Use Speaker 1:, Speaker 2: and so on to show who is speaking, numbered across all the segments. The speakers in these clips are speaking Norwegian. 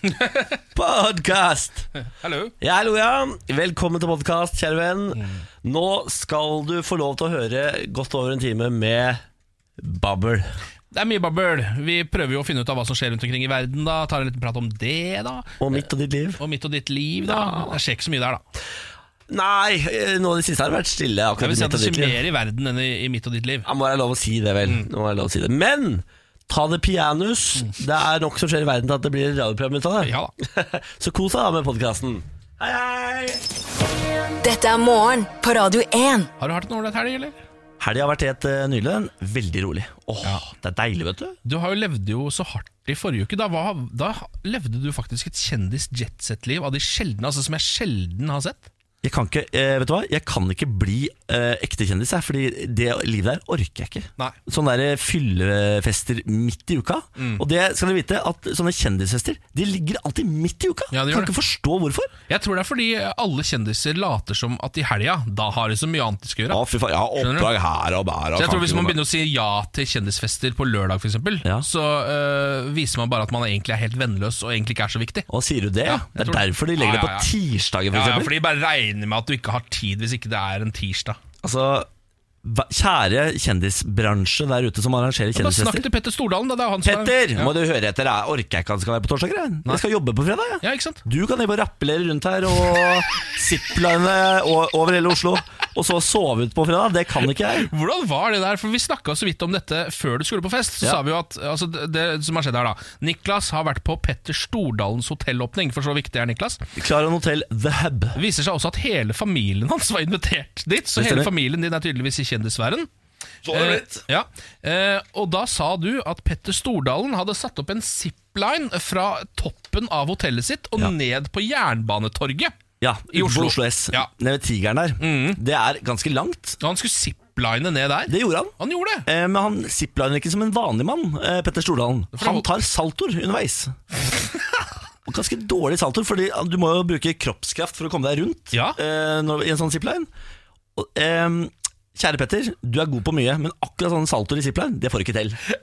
Speaker 1: Podkast!
Speaker 2: Hallo.
Speaker 1: Ja, hallo, ja. Velkommen til podkast, kjære venn. Nå skal du få lov til å høre godt over en time med babbel.
Speaker 2: Det er mye babbel. Vi prøver jo å finne ut av hva som skjer rundt omkring i verden. da Tar en liten prat om det, da.
Speaker 1: Og mitt og ditt liv.
Speaker 2: Og mitt og ditt liv, da. Det skjer ikke så mye der, da.
Speaker 1: Nei, eh, nå i det siste har det vært stille.
Speaker 2: Jeg
Speaker 1: akkurat
Speaker 2: vil
Speaker 1: i
Speaker 2: si
Speaker 1: mitt
Speaker 2: at
Speaker 1: og Mm.
Speaker 2: Det
Speaker 1: ditt liv.
Speaker 2: skjer mer i verden enn i, i mitt og ditt liv.
Speaker 1: Ja, må jeg lov å si det, vel. Nå er det lov å si det. Men ta det pianus. Det er nok som skjer i verden til at det blir et radioprogram ut av det.
Speaker 2: Ja da.
Speaker 1: Så kos deg da med podkasten. Hei, hei!
Speaker 3: Dette er morgen på Radio 1.
Speaker 2: Har du hatt en ålreit helg, eller?
Speaker 1: Helga har vært helt eh, nylig. Veldig rolig. Åh, Det er deilig, vet du.
Speaker 2: Du har jo levde jo så hardt i forrige uke. Da, var, da levde du faktisk et kjendis-jetset-liv av de sjeldne, altså som jeg sjelden har sett.
Speaker 1: Jeg kan ikke, eh, vet du hva? Jeg kan ikke bli eh, ekte kjendis, jeg, fordi det livet der orker jeg ikke.
Speaker 2: Nei.
Speaker 1: Sånne der eh, fyllefester midt i uka.
Speaker 2: Mm.
Speaker 1: Og det skal dere vite at sånne kjendisfester De ligger alltid midt i uka.
Speaker 2: Ja, de gjør
Speaker 1: kan ikke forstå hvorfor.
Speaker 2: Jeg tror det er fordi alle kjendiser later som at i helga, da har de så mye annet de skal gjøre.
Speaker 1: fy faen, Jeg har
Speaker 2: Skjønner du?
Speaker 1: her og der.
Speaker 2: Så jeg tror Hvis man begynner å si ja til kjendisfester på lørdag, for eksempel,
Speaker 1: Ja.
Speaker 2: så øh, viser man bare at man egentlig er helt vennløs og egentlig ikke er så viktig.
Speaker 1: Og sier du det?
Speaker 2: Ja,
Speaker 1: Ja,
Speaker 2: jeg
Speaker 1: det er
Speaker 2: tror det.
Speaker 1: derfor de legger
Speaker 2: Ja, ja, ja.
Speaker 1: det på tirsdager,
Speaker 2: Ja,
Speaker 1: f.eks.
Speaker 2: ja, for de bare regner med at du ikke har tid hvis ikke det er en tirsdag.
Speaker 1: Altså, hva- kjære kjendisbransje der ute som arrangerer
Speaker 2: Da snakk
Speaker 1: kjendisfester.
Speaker 2: til Petter Stordalen, da. Det er jo han som er-
Speaker 1: Petter,
Speaker 2: Ja.
Speaker 1: må du høre etter. Jeg orker ikke at han skal være på torsdager. Jeg, jeg skal jobbe på fredag. jeg.
Speaker 2: Ja, ikke sant?
Speaker 1: Du kan drive og rappellere rundt her og zipline o- over hele Oslo, og så sove ut på fredag. Det kan ikke jeg.
Speaker 2: Hvordan var det der? For Vi snakka så vidt om dette før du skulle på fest. Så
Speaker 1: Ja.
Speaker 2: sa vi jo at altså, det, det som har skjedd her da Niklas har vært på Petter Stordalens hotellåpning, for så viktig er Niklas.
Speaker 1: Klaran Hotell The Hub.
Speaker 2: Det viser seg også at hele familien hans var invitert dit, så
Speaker 1: Det
Speaker 2: hele
Speaker 1: stemmer.
Speaker 2: familien din er tydeligvis i kjendissfæren.
Speaker 1: Eh,
Speaker 2: Eh, ja. eh, og da sa du at Petter Stordalen hadde satt opp en zipline fra toppen av hotellet sitt og
Speaker 1: Ja.
Speaker 2: ned på Jernbanetorget.
Speaker 1: Ja,
Speaker 2: I
Speaker 1: i Oslo. Oslo
Speaker 2: Oslo.
Speaker 1: S.
Speaker 2: Ja. Mhm.
Speaker 1: Nede ved Tigeren der. Det er ganske langt.
Speaker 2: Og han skulle zipline ned der.
Speaker 1: Det gjorde han.
Speaker 2: Han gjorde det!
Speaker 1: Eh, Men han zipliner ikke som en vanlig mann, eh, Petter Stordalen.
Speaker 2: For
Speaker 1: Han
Speaker 2: det-
Speaker 1: tar saltoer underveis. Og ganske dårlig saltoer, Fordi du må jo bruke kroppskraft for å komme deg rundt
Speaker 2: Ja.
Speaker 1: eh, når, i en sånn zipline. Og, ehm, kjære Petter, du er god på mye, men akkurat sånne saltoer i zipline, det får du ikke til.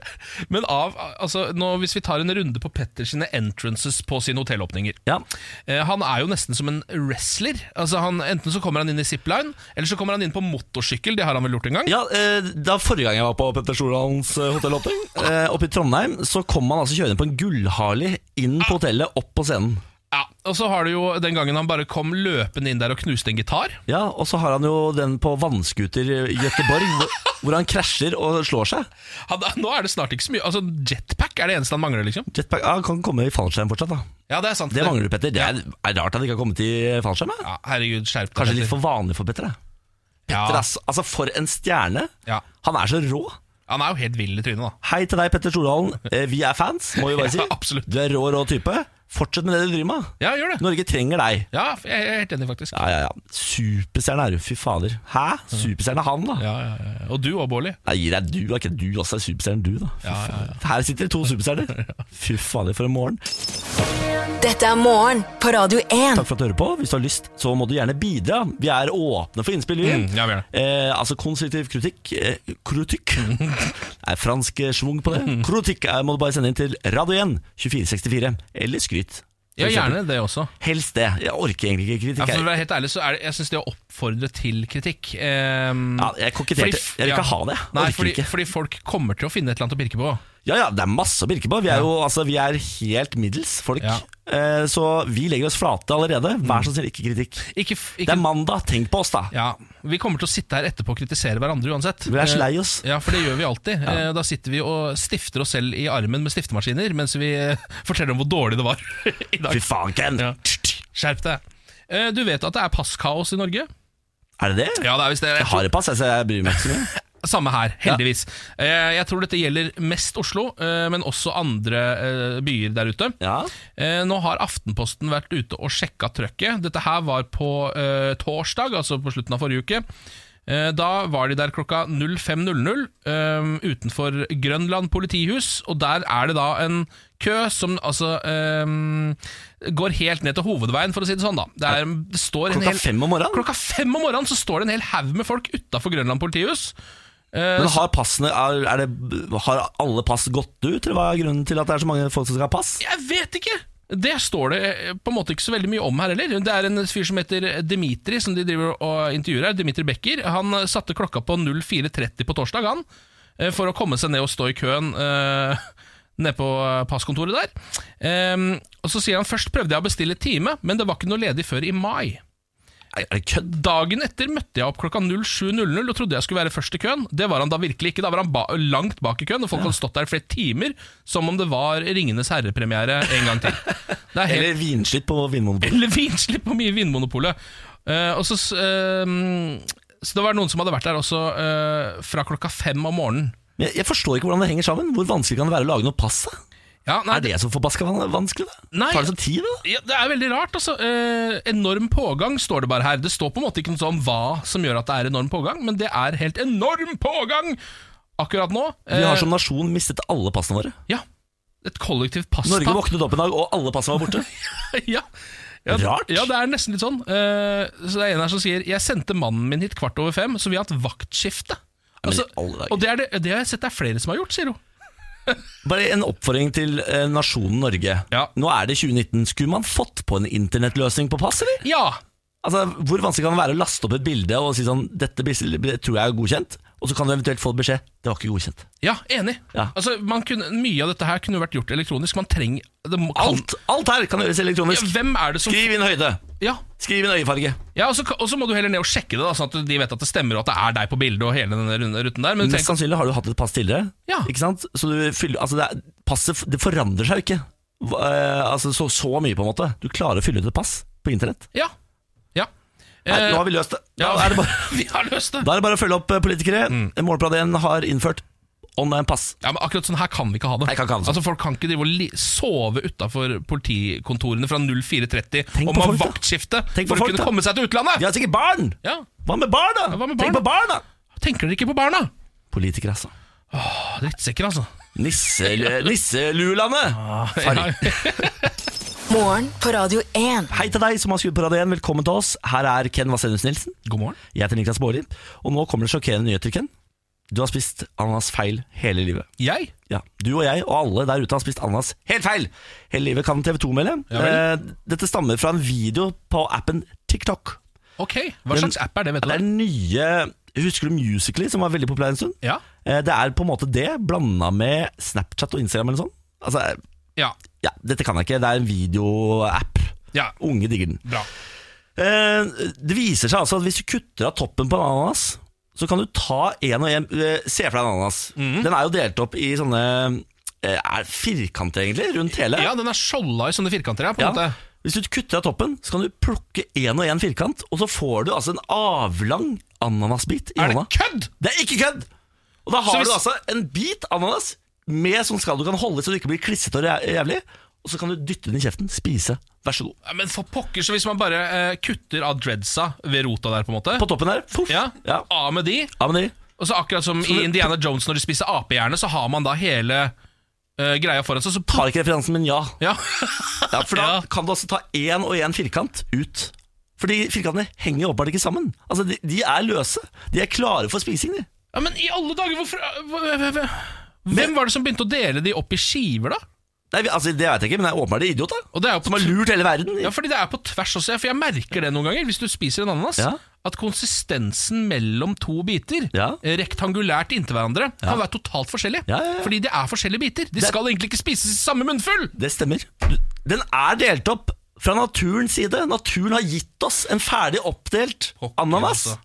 Speaker 2: Men av, altså, nå, hvis vi tar en runde på Petter sine entrances på sine hotellåpninger
Speaker 1: Ja.
Speaker 2: eh, Han er jo nesten som en wrestler. Altså, han, enten så kommer han inn i zipline, eller så kommer han inn på motorsykkel. Det har han vel gjort en gang?
Speaker 1: Ja, eh, da Forrige gang jeg var på Petter Stordalens eh, hotellåpning, eh, oppe i Trondheim, så kom han altså kjørende på en gullharley inn på hotellet, opp på scenen.
Speaker 2: Ja, Og så har du jo den gangen han bare kom løpende inn der og knuste en gitar.
Speaker 1: Ja, Og så har han jo den på vannskuter eh, i Gøteborg, hvor- hvor han krasjer og slår seg.
Speaker 2: Han, nå er det snart ikke så mye Altså Jetpack er det eneste han mangler, liksom.
Speaker 1: Jetpack ja, han kan komme i fallskjerm fortsatt, da.
Speaker 2: Ja, det er sant.
Speaker 1: Det mangler du, Petter. Det er, er rart at han ikke har kommet i fallskjerm. Ja.
Speaker 2: Ja, herregud, skjerp deg.
Speaker 1: Kanskje litt for vanlig for Petter. da. Petter,
Speaker 2: ja,
Speaker 1: ass. Altså, for en stjerne!
Speaker 2: ja.
Speaker 1: Han er så rå.
Speaker 2: Han er jo helt vill i trynet, da.
Speaker 1: Hei til deg, Petter Stordalen. Eh, Vi er fans, må vi bare si.
Speaker 2: Ja, absolutt.
Speaker 1: Du er rå, rå type. Fortsett med det du driver med.
Speaker 2: Ja, gjør det.
Speaker 1: Norge trenger deg.
Speaker 2: Ja, jeg er helt enig, faktisk.
Speaker 1: Ja, ja, ja. Superstjerne er jo fy fader. Hæ? Superstjerne er han, da?
Speaker 2: Ja, ja, ja. Og du òg, Bårli.
Speaker 1: Nei, det er du, er ikke du også er superstjerne, du, da. Fy
Speaker 2: Ja, ja,
Speaker 1: faen. Her sitter det to superstjerner. Fy fader, for en morgen.
Speaker 3: Dette er morgen på Radio 1.
Speaker 1: Takk for at du hører på. Hvis du har lyst, så må du gjerne bidra. Vi er åpne for innspill. vi.
Speaker 2: Mm, ja, vi er det.
Speaker 1: Eh, altså konstruktiv kritikk eh, Kritikk? Det er fransk eh, schwung på det.
Speaker 2: Mm.
Speaker 1: Kritikk eh, må du bare sende inn til Radio 1 2464, eller skryt. for
Speaker 2: Ja,
Speaker 1: eksempel.
Speaker 2: gjerne det også.
Speaker 1: Helst det. Jeg orker egentlig ikke
Speaker 2: Ja,
Speaker 1: kritikk.
Speaker 2: for å
Speaker 1: jeg.
Speaker 2: være helt ærlig, så er det, jeg syns det å oppfordre til kritikk ehm,
Speaker 1: Ja, jeg koketterte.
Speaker 2: fordi f-
Speaker 1: Jeg vil ikke
Speaker 2: ja.
Speaker 1: ha det. Jeg
Speaker 2: Nei,
Speaker 1: orker
Speaker 2: fordi,
Speaker 1: ikke.
Speaker 2: fordi folk kommer til å finne et eller annet å pirke på.
Speaker 1: Ja, ja, det er masse å pirke på. Vi er jo altså, vi er helt middels folk.
Speaker 2: Ja. Mm.
Speaker 1: Eh, Så vi legger oss flate allerede. Vær så snill, ikke kritikk.
Speaker 2: Ikke, f-
Speaker 1: Det
Speaker 2: ikke,
Speaker 1: er mandag, tenk på oss, da.
Speaker 2: ja, vi kommer til å sitte her etterpå og kritisere hverandre uansett.
Speaker 1: Vi er så
Speaker 2: Eh,
Speaker 1: lei oss.
Speaker 2: Ja, for det gjør vi alltid. Eh, Da sitter vi og stifter oss selv i armen med stiftemaskiner mens vi eh, forteller om hvor dårlig det var i
Speaker 1: Fy
Speaker 2: dag.
Speaker 1: fanken!
Speaker 2: Ja. Skjerp deg. Eh, Du vet at det er passkaos i Norge?
Speaker 1: Er det det?
Speaker 2: Ja, det er visst det.
Speaker 1: Jeg har et pass, jeg, så jeg bryr meg ikke så mye.
Speaker 2: Samme her, heldigvis. Eh, Jeg tror dette gjelder mest Oslo, eh, men også andre eh, byer der ute.
Speaker 1: Ja.
Speaker 2: Eh, Nå har Aftenposten vært ute og sjekka trøkket. Dette her var på eh, torsdag, altså på slutten av forrige uke. Eh, Da var de der klokka 05.00 eh, utenfor Grønland politihus, og der er det da en kø som altså eh, går helt ned til hovedveien, for å si det sånn. da Det, er, det står en
Speaker 1: Klokka
Speaker 2: hel,
Speaker 1: fem om morgenen?
Speaker 2: Klokka fem om morgenen så står det en hel haug med folk utafor Grønland politihus. Eh,
Speaker 1: Men har passene er, er det, Har alle pass gått ut, eller hva er grunnen til at det er så mange folk som skal ha pass?
Speaker 2: Jeg vet ikke! Det står det eh, på en måte ikke så veldig mye om her heller. Det er en fyr som heter eh, Dimitri, som de driver og intervjuer her. Dimitri Becker. Han eh, satte klokka på 04.30 på torsdag, han, eh, for å komme seg ned og stå i køen eh, nede på eh, passkontoret der. Eh, og så sier han først prøvde jeg å bestille time, men det var ikke noe ledig før i mai.
Speaker 1: Er, er det kødd?
Speaker 2: Dagen etter møtte jeg opp klokka 07.00 og trodde jeg skulle være først i køen. Det var han da virkelig ikke. Da var han ba langt bak i køen, og folk hadde stått der i flere timer som om det var Ringenes herre-premiere en gang til. Det er helt
Speaker 1: Eller vinslitt på Vinmonopolet?
Speaker 2: eller vinslipp på mye Vinmonopolet. Eh, og så, s- ehm, så det var noen som hadde vært der også eh, fra klokka fem om morgenen.
Speaker 1: Men Jeg, jeg forstår ikke hvordan det henger sammen. Hvor vanskelig kan det være å lage noe pass? da?
Speaker 2: Ja, nei,
Speaker 1: Er det så forbaska van- vanskelig, da?
Speaker 2: Nei.
Speaker 1: Tar det så tid, da?
Speaker 2: Ja, det er veldig rart, altså. Eh, enorm pågang står det bare her. Det står på en måte ikke noe sånn hva som gjør at det er enorm pågang, men det er helt enorm pågang akkurat nå.
Speaker 1: Vi
Speaker 2: Eh,
Speaker 1: har som nasjon mistet alle passene våre.
Speaker 2: Ja. Et kollektivt passtap.
Speaker 1: Norge våknet opp en dag, og alle passene var borte.
Speaker 2: ja. Ja,
Speaker 1: Rart.
Speaker 2: Ja, det er nesten litt sånn. Eh, så det er en her som sier Jeg sendte mannen min hit kvart over fem, så vi har hatt vaktskifte.
Speaker 1: men i
Speaker 2: Altså,
Speaker 1: alle dager.
Speaker 2: og det, er det, det har jeg sett det er flere som har gjort, sier hun.
Speaker 1: Bare en oppfordring til eh, nasjonen Norge.
Speaker 2: Ja.
Speaker 1: Nå er det 2019. Skulle man fått på en internettløsning på pass, eller?
Speaker 2: Ja,
Speaker 1: Altså, Hvor vanskelig kan det være å laste opp et bilde og si sånn Dette bildet tror jeg er godkjent, og så kan du eventuelt få beskjed Det var ikke godkjent.
Speaker 2: ja enig.
Speaker 1: Ja.
Speaker 2: Altså, man kunne, mye av dette her kunne vært gjort elektronisk. Man trenger det må- kan-
Speaker 1: Alt, alt her kan gjøres
Speaker 2: Ja,
Speaker 1: elektronisk.
Speaker 2: Hvem er det som
Speaker 1: Skriv inn høyde.
Speaker 2: Ja,
Speaker 1: Skriv inn øyefarge.
Speaker 2: ja og, så, og så må du heller ned og sjekke det, da, sånn at de vet at det stemmer, og at det er deg på bildet og hele denne runde ruten der. Men du
Speaker 1: Mest
Speaker 2: tenker,
Speaker 1: sannsynlig har du hatt et pass tidligere.
Speaker 2: Ja.
Speaker 1: Ikke sant? Så du fyller, altså det er, passet det forandrer seg jo ikke Hva- eh, altså så, så mye, på en måte. Du klarer å fylle ut et pass på internett.
Speaker 2: ja, ja.
Speaker 1: Nei,
Speaker 2: Eh,
Speaker 1: nå har vi løst det. Da,
Speaker 2: ja, Mm.
Speaker 1: er det bare,
Speaker 2: vi har løst det.
Speaker 1: da er det bare å følge opp eh, politikere. Morgenbladet 1 har innført online pass.
Speaker 2: Ja, men akkurat sånn her kan vi ikke ha det.
Speaker 1: Nei, kan ikke ha det sånn.
Speaker 2: Altså Folk kan ikke drive og li sove utafor politikontorene fra 04.30
Speaker 1: Tenk
Speaker 2: om
Speaker 1: på
Speaker 2: å ha
Speaker 1: folk, da.
Speaker 2: vaktskifte
Speaker 1: Tenk på
Speaker 2: for å
Speaker 1: folk,
Speaker 2: kunne
Speaker 1: da.
Speaker 2: komme seg til utlandet!
Speaker 1: De har sikkert barn!
Speaker 2: Ja.
Speaker 1: Hva med barn, da?
Speaker 2: hva med
Speaker 1: Tenk
Speaker 2: barn?
Speaker 1: på barn, da!
Speaker 2: Tenker dere ikke på barna?
Speaker 1: Politikere, altså.
Speaker 2: Ah, Drittsekker, altså.
Speaker 1: Nisse, eh, nisselulane!
Speaker 2: Ah.
Speaker 1: Farg.
Speaker 3: Morgen på Radio 1.
Speaker 1: Hei til deg som har skrudd på Radio 1, velkommen til oss. Her er Ken Vasenus Nilsen.
Speaker 2: God morgen.
Speaker 1: Jeg heter Niklas Baarli, og nå kommer det sjokkerende nyheter, Ken. Du har spist ananas feil hele livet.
Speaker 2: Jeg?
Speaker 1: Ja, Du og jeg og alle der ute har spist ananas helt feil! Hele livet kan TV 2 melde.
Speaker 2: Ja vel.
Speaker 1: Eh, Dette stammer fra en video på appen TikTok.
Speaker 2: Ok, Hva
Speaker 1: Men-
Speaker 2: slags app er det? vet
Speaker 1: Det er
Speaker 2: du?
Speaker 1: den nye Husker du Musically, som var veldig populær en stund?
Speaker 2: Ja.
Speaker 1: Eh, Det er på en måte det, blanda med Snapchat og Instagram eller noe sånt. Altså,
Speaker 2: ja.
Speaker 1: ja, dette kan jeg ikke. Det er en videoapp.
Speaker 2: Ja,
Speaker 1: Unge digger den.
Speaker 2: bra.
Speaker 1: Eh, Det viser seg altså at hvis du kutter av toppen på en ananas, så kan du ta en og en eh, Se for deg en ananas.
Speaker 2: Mhm.
Speaker 1: Den er jo delt opp i sånne eh, er firkanter, egentlig, rundt hele.
Speaker 2: Ja, den er skjolda i sånne firkanter. Ja, på
Speaker 1: Ja.
Speaker 2: en måte.
Speaker 1: Hvis du kutter av toppen, så kan du plukke en og en firkant, og så får du altså en avlang ananasbit i
Speaker 2: Er det
Speaker 1: hånda.
Speaker 2: kødd?!
Speaker 1: Det er ikke kødd! Og da
Speaker 2: Så
Speaker 1: har
Speaker 2: hvis-
Speaker 1: du altså en bit ananas med sånn skall du kan holde så du ikke blir klissete og jæ- jævlig, og så kan du dytte den i kjeften, spise, vær så god.
Speaker 2: Ja, Men for pokker, så hvis man bare eh, kutter av dreadsa ved rota der, på en måte
Speaker 1: På toppen der, poff.
Speaker 2: Ja,
Speaker 1: Ja.
Speaker 2: Av med de.
Speaker 1: Ja, men det,
Speaker 2: Og så akkurat som i
Speaker 1: det-
Speaker 2: Indiana Jones når de spiser apehjerne, så har man da hele eh, greia foran seg. Så
Speaker 1: har ikke referansen, men ja.
Speaker 2: ja.
Speaker 1: ja for da
Speaker 2: Ja.
Speaker 1: kan du altså ta én og én firkant ut. Fordi firkantene henger jo åpenbart ikke sammen. Altså, de, de er løse. De er klare for spising, de.
Speaker 2: ja, men i alle dager, hvorfor eh, hva- hva- hva- Hvem var det som begynte å dele de opp i skiver, da?
Speaker 1: Nei, vi- altså, det vet jeg ikke, men det er åpenbart idioter.
Speaker 2: Og det er jo
Speaker 1: Som har
Speaker 2: på t-
Speaker 1: lurt hele verden.
Speaker 2: ja, fordi det er på tvers også, ja, for jeg merker det noen ganger hvis du spiser en ananas.
Speaker 1: Ja.
Speaker 2: At konsistensen mellom to biter,
Speaker 1: Ja.
Speaker 2: eh, rektangulært inntil hverandre, kan være totalt forskjellig.
Speaker 1: Ja, ja, ja.
Speaker 2: Fordi de er forskjellige biter. De skal egentlig ikke spises i samme munnfull!
Speaker 1: Det stemmer. Du, den er delt opp fra naturens side. Naturen har gitt oss en ferdig oppdelt
Speaker 2: Pokker,
Speaker 1: ananas.
Speaker 2: altså.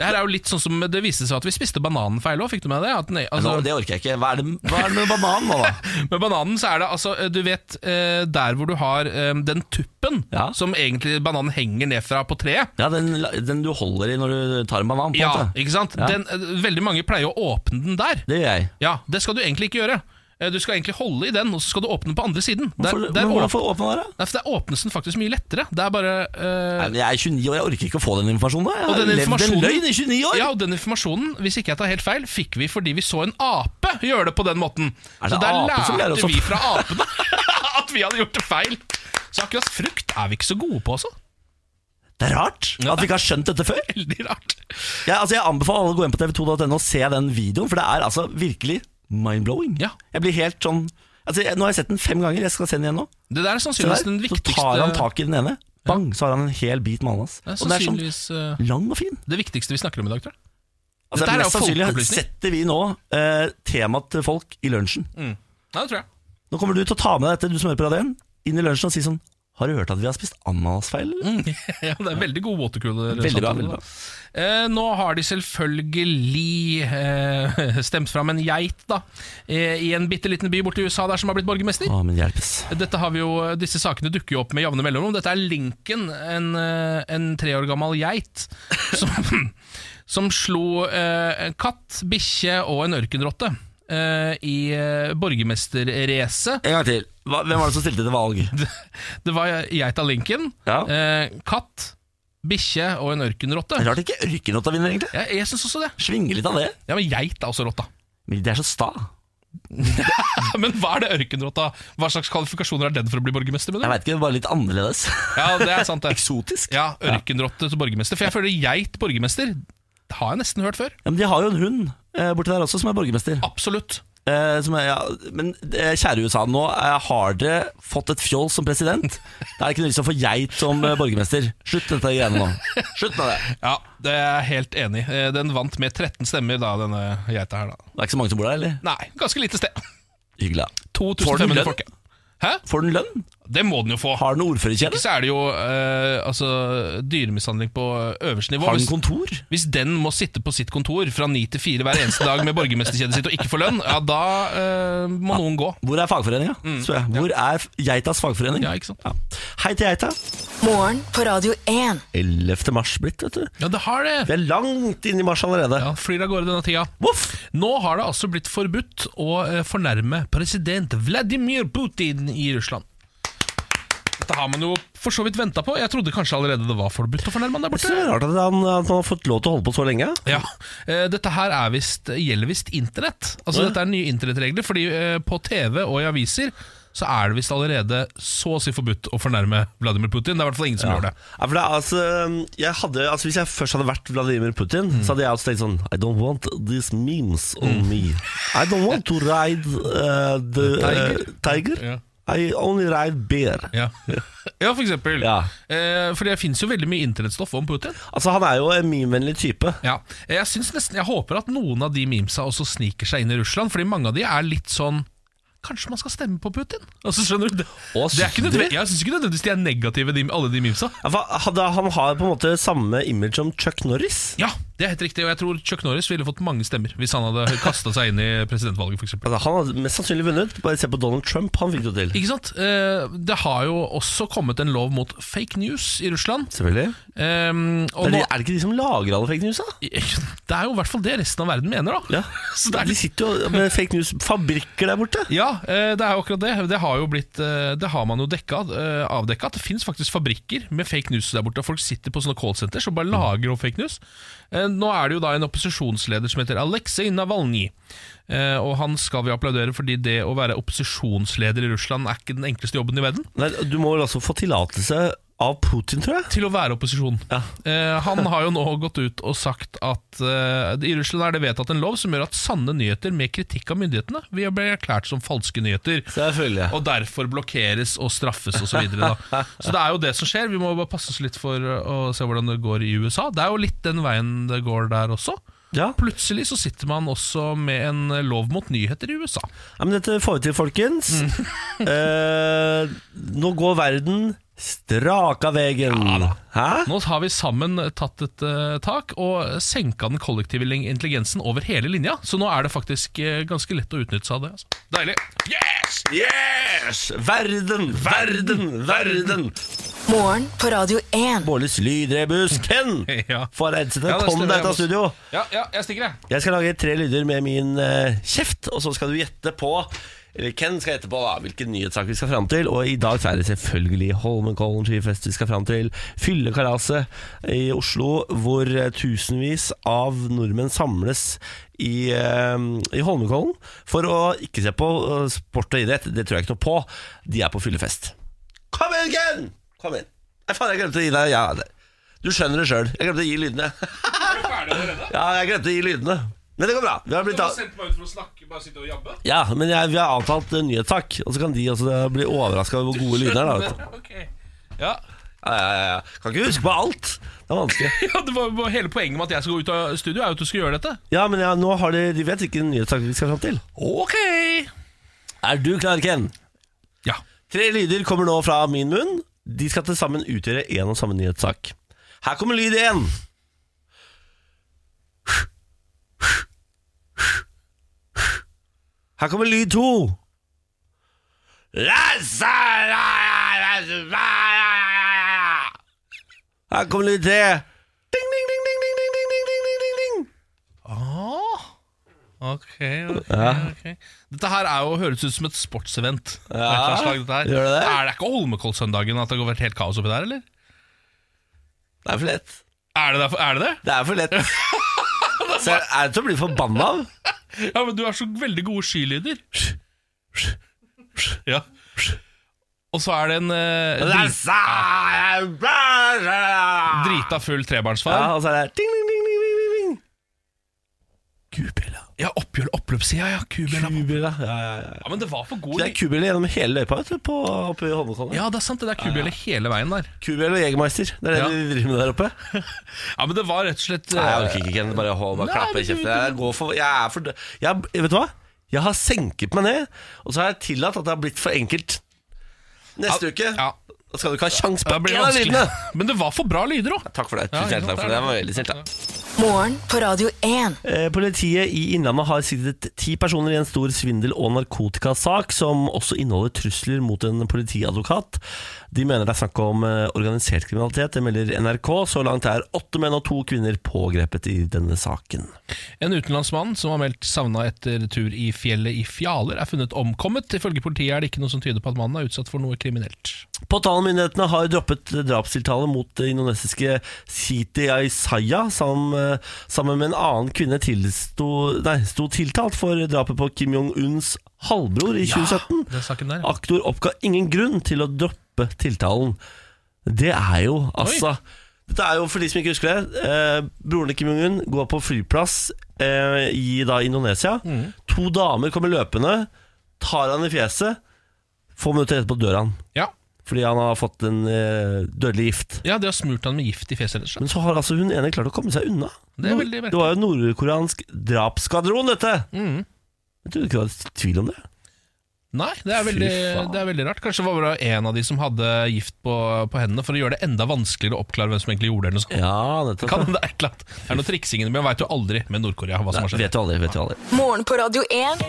Speaker 2: Det her er jo litt sånn som det viste seg at vi spiste bananen feil òg, fikk du med det? At den, altså,
Speaker 1: Nå, det orker jeg ikke. Hva er det, hva er det med bananen nå, da?
Speaker 2: Med bananen så er det altså, du vet, eh, der hvor du har eh, den tuppen
Speaker 1: Ja.
Speaker 2: som egentlig bananen henger ned fra på treet.
Speaker 1: Ja, den, la- den du holder i når du tar en banan. på en
Speaker 2: Ja,
Speaker 1: måte.
Speaker 2: ikke sant?
Speaker 1: Ja.
Speaker 2: Den, eh, veldig mange pleier å åpne den der.
Speaker 1: Det gjør jeg.
Speaker 2: Ja, det skal du egentlig ikke gjøre. Eh, Du skal egentlig holde i den, og så skal du åpne den på andre siden. Der,
Speaker 1: Hvorfor,
Speaker 2: der,
Speaker 1: men hvordan
Speaker 2: åp-
Speaker 1: får åpne dere?
Speaker 2: Nei, for der åpnes den faktisk mye lettere. Det er bare eh,
Speaker 1: Nei, men Jeg er 29 år, jeg orker ikke å få den informasjonen. da. Jeg
Speaker 2: Og
Speaker 1: har
Speaker 2: den
Speaker 1: levd en
Speaker 2: informasjonen-
Speaker 1: løgn i 29 år!
Speaker 2: Ja, og den informasjonen, hvis ikke jeg tar helt feil, fikk vi fordi vi så en ape gjøre det på den måten.
Speaker 1: Er det sånn?
Speaker 2: så der
Speaker 1: ape som lærer oss
Speaker 2: lærte
Speaker 1: opp?
Speaker 2: vi fra apene at vi hadde gjort det feil. Så akkurat frukt er vi ikke så gode på, altså.
Speaker 1: Det er rart at vi ikke har skjønt dette før.
Speaker 2: Veldig rart.
Speaker 1: Jeg, altså, jeg anbefaler alle å gå inn på tv2.no og se den videoen, for det er altså virkelig mind-blowing.
Speaker 2: Ja.
Speaker 1: Jeg blir helt sånn altså, jeg, Nå har jeg sett den fem ganger, jeg skal se den igjen nå.
Speaker 2: Det der er
Speaker 1: Se der,
Speaker 2: sannsynligvis den
Speaker 1: så
Speaker 2: viktigste
Speaker 1: tar han tak i den ene, bang, så har han en hel bit med ananas.
Speaker 2: Det er
Speaker 1: Og den er sånn
Speaker 2: sannsynligvis eh,
Speaker 1: lang og fin.
Speaker 2: det viktigste vi snakker om i dag, tror jeg.
Speaker 1: Altså,
Speaker 2: Dette
Speaker 1: mest
Speaker 2: er jo
Speaker 1: sannsynlig
Speaker 2: folkeopplysning.
Speaker 1: setter vi nå eh, temaet til folk i lunsjen.
Speaker 2: Nei, Mm. det tror jeg.
Speaker 1: Nå kommer du til å ta med deg dette, du som hører på radioen, inn i lunsjen og si sånn Har du hørt at vi har spist ananasfeil? eller?»
Speaker 2: Mm. ja, det er veldig god watercooler.
Speaker 1: Veldig bra,
Speaker 2: samtale,
Speaker 1: veldig
Speaker 2: da.
Speaker 1: bra.
Speaker 2: Eh, nå har de selvfølgelig eh, stemt fram en geit da, eh, i en bitte liten by borti USA der som har blitt borgermester.
Speaker 1: Å, men hjelpes.
Speaker 2: Dette har vi jo, disse sakene dukker jo opp med javne mellomrom. Dette er Lincoln, en, eh, en tre år gammel geit, som, som slo eh, en katt, bikkje og en ørkenrotte eh, i eh, borgermesterracet.
Speaker 1: En gang til. Hva, hvem var det som stilte til valg?
Speaker 2: Det var geita Lincoln,
Speaker 1: Ja.
Speaker 2: eh, katt, bikkje og en ørkenrotte.
Speaker 1: Rart ikke ørkenrotta vinner, egentlig.
Speaker 2: Jeg, jeg syns også det.
Speaker 1: Svinge litt av det.
Speaker 2: Ja, Men geit er også rotta.
Speaker 1: Men de er så sta.
Speaker 2: Men hva er det ørkenrotta? Hva slags kvalifikasjoner er den for å bli borgermester? Med
Speaker 1: Jeg veit ikke, bare litt annerledes.
Speaker 2: Ja, det er sant det
Speaker 1: Eksotisk.
Speaker 2: Ja, ørkenrotte til borgermester. For jeg føler geit borgermester. Det har jeg nesten hørt før.
Speaker 1: Ja, men de har jo en hund eh, borti der også, som er borgermester.
Speaker 2: Absolutt.
Speaker 1: Eh, som er, ja, men eh, kjære USA, nå eh, har dere fått et fjoll som president. Det er ikke noe vits i å få geit som eh, borgermester. Slutt dette greiene nå. Slutt med det.
Speaker 2: Ja, det er jeg helt enig i. Eh, Den vant med 13 stemmer, da, denne geita her. da
Speaker 1: Det er ikke så mange som bor der, eller?
Speaker 2: Nei, ganske lite sted.
Speaker 1: Hyggelig. da. Får den
Speaker 2: 2500
Speaker 1: lønn?
Speaker 2: folk. ja. Hæ?
Speaker 1: Får den lønn?
Speaker 2: Det må den jo få.
Speaker 1: Har den ordførerkjede?
Speaker 2: Så er det jo eh, altså, dyremishandling på øverste nivå.
Speaker 1: Har den
Speaker 2: Hvis,
Speaker 1: kontor?
Speaker 2: hvis den må sitte på sitt kontor fra ni til fire hver eneste dag med borgermesterkjedet sitt og ikke få lønn, ja, da eh, må noen gå.
Speaker 1: Hvor er fagforeninga? spør jeg. Hvor er geitas fagforening?
Speaker 2: Mm. Ja, ikke sant?
Speaker 1: Ja. Hei til geita.
Speaker 3: Morgen på Radio 1.
Speaker 1: 11. mars blitt, vet du.
Speaker 2: Ja, det har det!
Speaker 1: Vi er langt inn i mars allerede.
Speaker 2: Ja, Flyr av gårde denne tida.
Speaker 1: Voff!
Speaker 2: Nå har det altså blitt forbudt å eh, fornærme president Vladimir Putin i Russland. Dette har man jo for så vidt venta på. Jeg trodde kanskje allerede det var forbudt å fornærme han der
Speaker 1: Jeg synes det
Speaker 2: borte.
Speaker 1: er rart at han, at han har fått lov til å holde på så lenge.
Speaker 2: Ja, eh, Dette her er visst, gjelder visst internett. Altså Dette er nye internettregler, fordi eh, på TV og i aviser så er det visst allerede så å si forbudt å fornærme Vladimir Putin. Det er i hvert fall ingen som gjør det.
Speaker 1: Ja, for det, er, altså, jeg hadde, altså, hvis jeg først hadde vært Vladimir Putin,
Speaker 2: Mm.
Speaker 1: så hadde jeg også tenkt sånn I don't want these memes on me. I don't want to ride uh, the uh,
Speaker 2: Tiger?
Speaker 1: tiger.
Speaker 2: Ja.
Speaker 1: I only ride bear.
Speaker 2: Ja, ja for eksempel.
Speaker 1: Ja.
Speaker 2: Eh, for det fins jo veldig mye internettstoff om Putin.
Speaker 1: Altså, han er jo en memevennlig type.
Speaker 2: Ja, jeg, synes nesten, jeg håper at noen av de memesa også sniker seg inn i Russland, fordi mange av de er litt sånn Kanskje man skal stemme på Putin? Altså, skjønner du? Det,
Speaker 1: Å,
Speaker 2: det er
Speaker 1: synes
Speaker 2: ikke
Speaker 1: du?
Speaker 2: nødvendig, jeg syns ikke nødvendigvis de er negative, de, alle de memesa.
Speaker 1: Ja, for hadde, han har på en måte samme image som Chuck Norris.
Speaker 2: Ja, det er helt riktig, og jeg tror Chuck Norris ville fått mange stemmer hvis han hadde kasta seg inn i presidentvalget, f.eks.
Speaker 1: Altså, han hadde mest sannsynlig vunnet. Bare se på Donald Trump, han fikk det jo til.
Speaker 2: Ikke sant? Eh, Det har jo også kommet en lov mot fake news i Russland.
Speaker 1: Selvfølgelig.
Speaker 2: Eh,
Speaker 1: Er
Speaker 2: og
Speaker 1: det,
Speaker 2: nå,
Speaker 1: er det ikke de som lager alle fake news, da?
Speaker 2: det er jo i hvert fall det resten av verden mener, da.
Speaker 1: Ja.
Speaker 2: Så det er
Speaker 1: De sitter jo med fake news-fabrikker der borte.
Speaker 2: Ja, eh, det er jo akkurat det. Det har, jo blitt, eh, det har man jo dekka, eh, avdekka. At det fins faktisk fabrikker med fake news der borte. og Folk sitter på sånne callsenter som bare lager opp fake news. Eh, Nå er det jo da en opposisjonsleder som heter Aleksej Navalnyj. Eh, Og han skal vi applaudere, fordi det å være opposisjonsleder i Russland er ikke den enkleste jobben i verden.
Speaker 1: Nei, du må vel altså få tillatelse av Putin, tror jeg.
Speaker 2: Til å være opposisjon.
Speaker 1: Ja.
Speaker 2: Eh, Han har jo nå gått ut og sagt at eh, i Russland er det vedtatt en lov som gjør at sanne nyheter med kritikk av myndighetene vil bli erklært som falske nyheter.
Speaker 1: Selvfølgelig.
Speaker 2: Og derfor blokkeres og straffes osv. Så, videre, da. så det er jo det som skjer. Vi må bare passe oss litt for uh, å se hvordan det går i USA. Det er jo litt den veien det går der også.
Speaker 1: Ja.
Speaker 2: Plutselig så sitter man også med en uh, lov mot nyheter i USA.
Speaker 1: ja, men dette får vi til, folkens.
Speaker 2: Mm.
Speaker 1: eh, nå går verden straka vegen. Hæ?
Speaker 2: Nå har vi sammen tatt et eh, tak og senka den kollektive lin- intelligensen over hele linja. Så nå er det faktisk eh, ganske lett å utnytte seg av det. Altså. Deilig. Yes!
Speaker 1: Yes! Verden, verden, verden!
Speaker 3: Morgen på Radio 1.
Speaker 1: Bårlis lydrebus, Ken!
Speaker 2: Ja.
Speaker 1: For Edsete,
Speaker 2: Ja, det
Speaker 1: kom
Speaker 2: stemmer,
Speaker 1: deg ut
Speaker 2: jeg
Speaker 1: av
Speaker 2: må-
Speaker 1: studio!
Speaker 2: Ja, ja, jeg stikker, jeg.
Speaker 1: Jeg skal lage tre lyder med min eh, kjeft, og så skal du gjette på eller Ken skal gjette på da, hvilken nyhetssak vi skal fram til. Og i dag så er det selvfølgelig Holmenkollen skifest vi skal fram til. Fyllekalaset i Oslo, hvor eh, tusenvis av nordmenn samles i, eh, i Holmenkollen for å ikke se på eh, sport og idrett. Det tror jeg ikke noe på. De er på fyllefest. Kom igjen, Ken! Kom igjen. Nei, faen, jeg glemte å gi deg ja, det. Du skjønner det sjøl. Jeg glemte å gi lydene.
Speaker 2: Er du ferdig allerede?
Speaker 1: Ja, jeg glemte å gi lydene. Men det går bra. Vi har blitt av...
Speaker 2: meg ut for å snakke, bare sitte og jabbe?
Speaker 1: Ja, men jeg, vi har avtalt eh, nyhetssak, og så kan de også eh, bli overraska over hvor gode lyder det er. da, vet du.
Speaker 2: Ja.
Speaker 1: Ja, ja, ja, ja. Kan ikke huske på alt. Det er vanskelig.
Speaker 2: ja, det var var Hele poenget med at jeg skal gå ut av studio, er jo at du skal gjøre dette.
Speaker 1: Ja, men ja, nå har de, de vet hvilken nyhetssak vi skal fram til.
Speaker 2: Ok
Speaker 1: Er du klar, Ken?
Speaker 2: Ja.
Speaker 1: Tre lyder kommer nå fra min munn. De skal til sammen utgjøre én og samme nyhetssak. Her kommer lyd én. Her kommer lyd to. Her kommer lyd tre. Ding, ding, ding, ding, ding, ding, ding, ding, ding, ding, ding.
Speaker 2: Ah. Ok, ok, ok Dette her er jo, høres ut som et sportsevent.
Speaker 1: Ja,
Speaker 2: Et eller annet slag, dette her.
Speaker 1: gjør det det?
Speaker 2: Er det ikke Holmenkollsøndagen at det har vært helt kaos oppi der, eller?
Speaker 1: Det er for lett.
Speaker 2: Er det derfor, er det? det?
Speaker 1: Det er for lett. Så er det til å bli forbanna av.
Speaker 2: Ja, men du har så veldig gode skylyder. Ja. Og så er det en eh, drit, drita full
Speaker 1: Ja,
Speaker 2: trebarnsfar.
Speaker 1: og så er det ding, ding, ding, ding, ding, ding, ding. Kubella.
Speaker 2: Ja, oppgjør oppløpssida, ja. Kubel.
Speaker 1: Kubella. Ja, ja, ja.
Speaker 2: Ja, men det var for god
Speaker 1: Det er kubella gjennom hele løypa vet du, på, oppe i Holmenkollen.
Speaker 2: Ja, det er sant. Det er kubjelle hele veien der.
Speaker 1: Kubella og Jegermeister. Det er det
Speaker 2: Ja.
Speaker 1: de driver med der oppe.
Speaker 2: Ja, men det var rett og slett eh,
Speaker 1: Nei, jeg orker ikke Ken. Bare hold bare
Speaker 2: Nei,
Speaker 1: klappe
Speaker 2: men
Speaker 1: i
Speaker 2: du-
Speaker 1: kjeften. Jeg, går for, jeg er for dø- jeg, Vet du hva? Jeg har senket meg ned, og så har jeg tillatt at det har blitt for enkelt. Neste uke
Speaker 2: Ja,
Speaker 1: Da skal du ikke ha kjangs på
Speaker 2: da blir
Speaker 1: en
Speaker 2: det
Speaker 1: av
Speaker 2: vanskelig.
Speaker 1: lydene.
Speaker 2: Men det var for bra lyder òg.
Speaker 1: Takk for det.
Speaker 2: Ja,
Speaker 1: Tusen hjertelig takk for det. Det var veldig snilt. da.
Speaker 3: Morgen på Radio 1.
Speaker 1: Eh, Politiet i Innlandet har siktet ti personer i en stor svindel- og narkotikasak, som også inneholder trusler mot en politiadvokat. De mener det er snakk om eh, organisert kriminalitet, det melder NRK. Så langt er åtte menn og to kvinner pågrepet i denne saken.
Speaker 2: En utenlandsmann som var meldt savna etter tur i fjellet i Fjaler, er funnet omkommet. Ifølge politiet er det ikke noe som tyder på at mannen er utsatt for noe kriminelt.
Speaker 1: Påtalemyndighetene har droppet drapstiltale mot det indonesiske Siti Aisaya, som eh, sammen med en annen kvinne tilsto, nei, sto tiltalt for drapet på Kim Jong-uns halvbror i 2017.
Speaker 2: Den saken der.
Speaker 1: Aktor oppga ingen grunn til å droppe tiltalen. Det er jo altså Dette er jo for de som ikke husker det. Eh, broren til Kim Jong-un går på flyplass eh, i da Indonesia.
Speaker 2: Ah. Mm.
Speaker 1: To damer kommer løpende, tar han i fjeset. Få minutter etterpå dør han
Speaker 2: Ja.
Speaker 1: fordi han har fått en eh, dødelig gift.
Speaker 2: ja, de har smurt han med gift i fjeset, rett og slett.
Speaker 1: Men så har altså hun ene klart å komme seg unna.
Speaker 2: Det er veldig merkelig.
Speaker 1: Det var jo nordkoreansk drapskvadron, dette! Jeg trodde ikke det var tvil om det.
Speaker 2: Mm. Nei, det er,
Speaker 1: Fy
Speaker 2: veldig,
Speaker 1: faen.
Speaker 2: det er veldig rart. Kanskje det var bare en av de som hadde gift på, på hendene, for å gjøre det enda vanskeligere å oppklare hvem som egentlig gjorde det. Eller noe sånt.
Speaker 1: Ja, nettopp.
Speaker 2: Kan det, være et eller annet? det er noe triksing inni, men man veit jo aldri med Nord-Korea hva som har skjedd.
Speaker 1: Vet jo aldri, vet jo aldri.
Speaker 3: Morgen på Radio 1.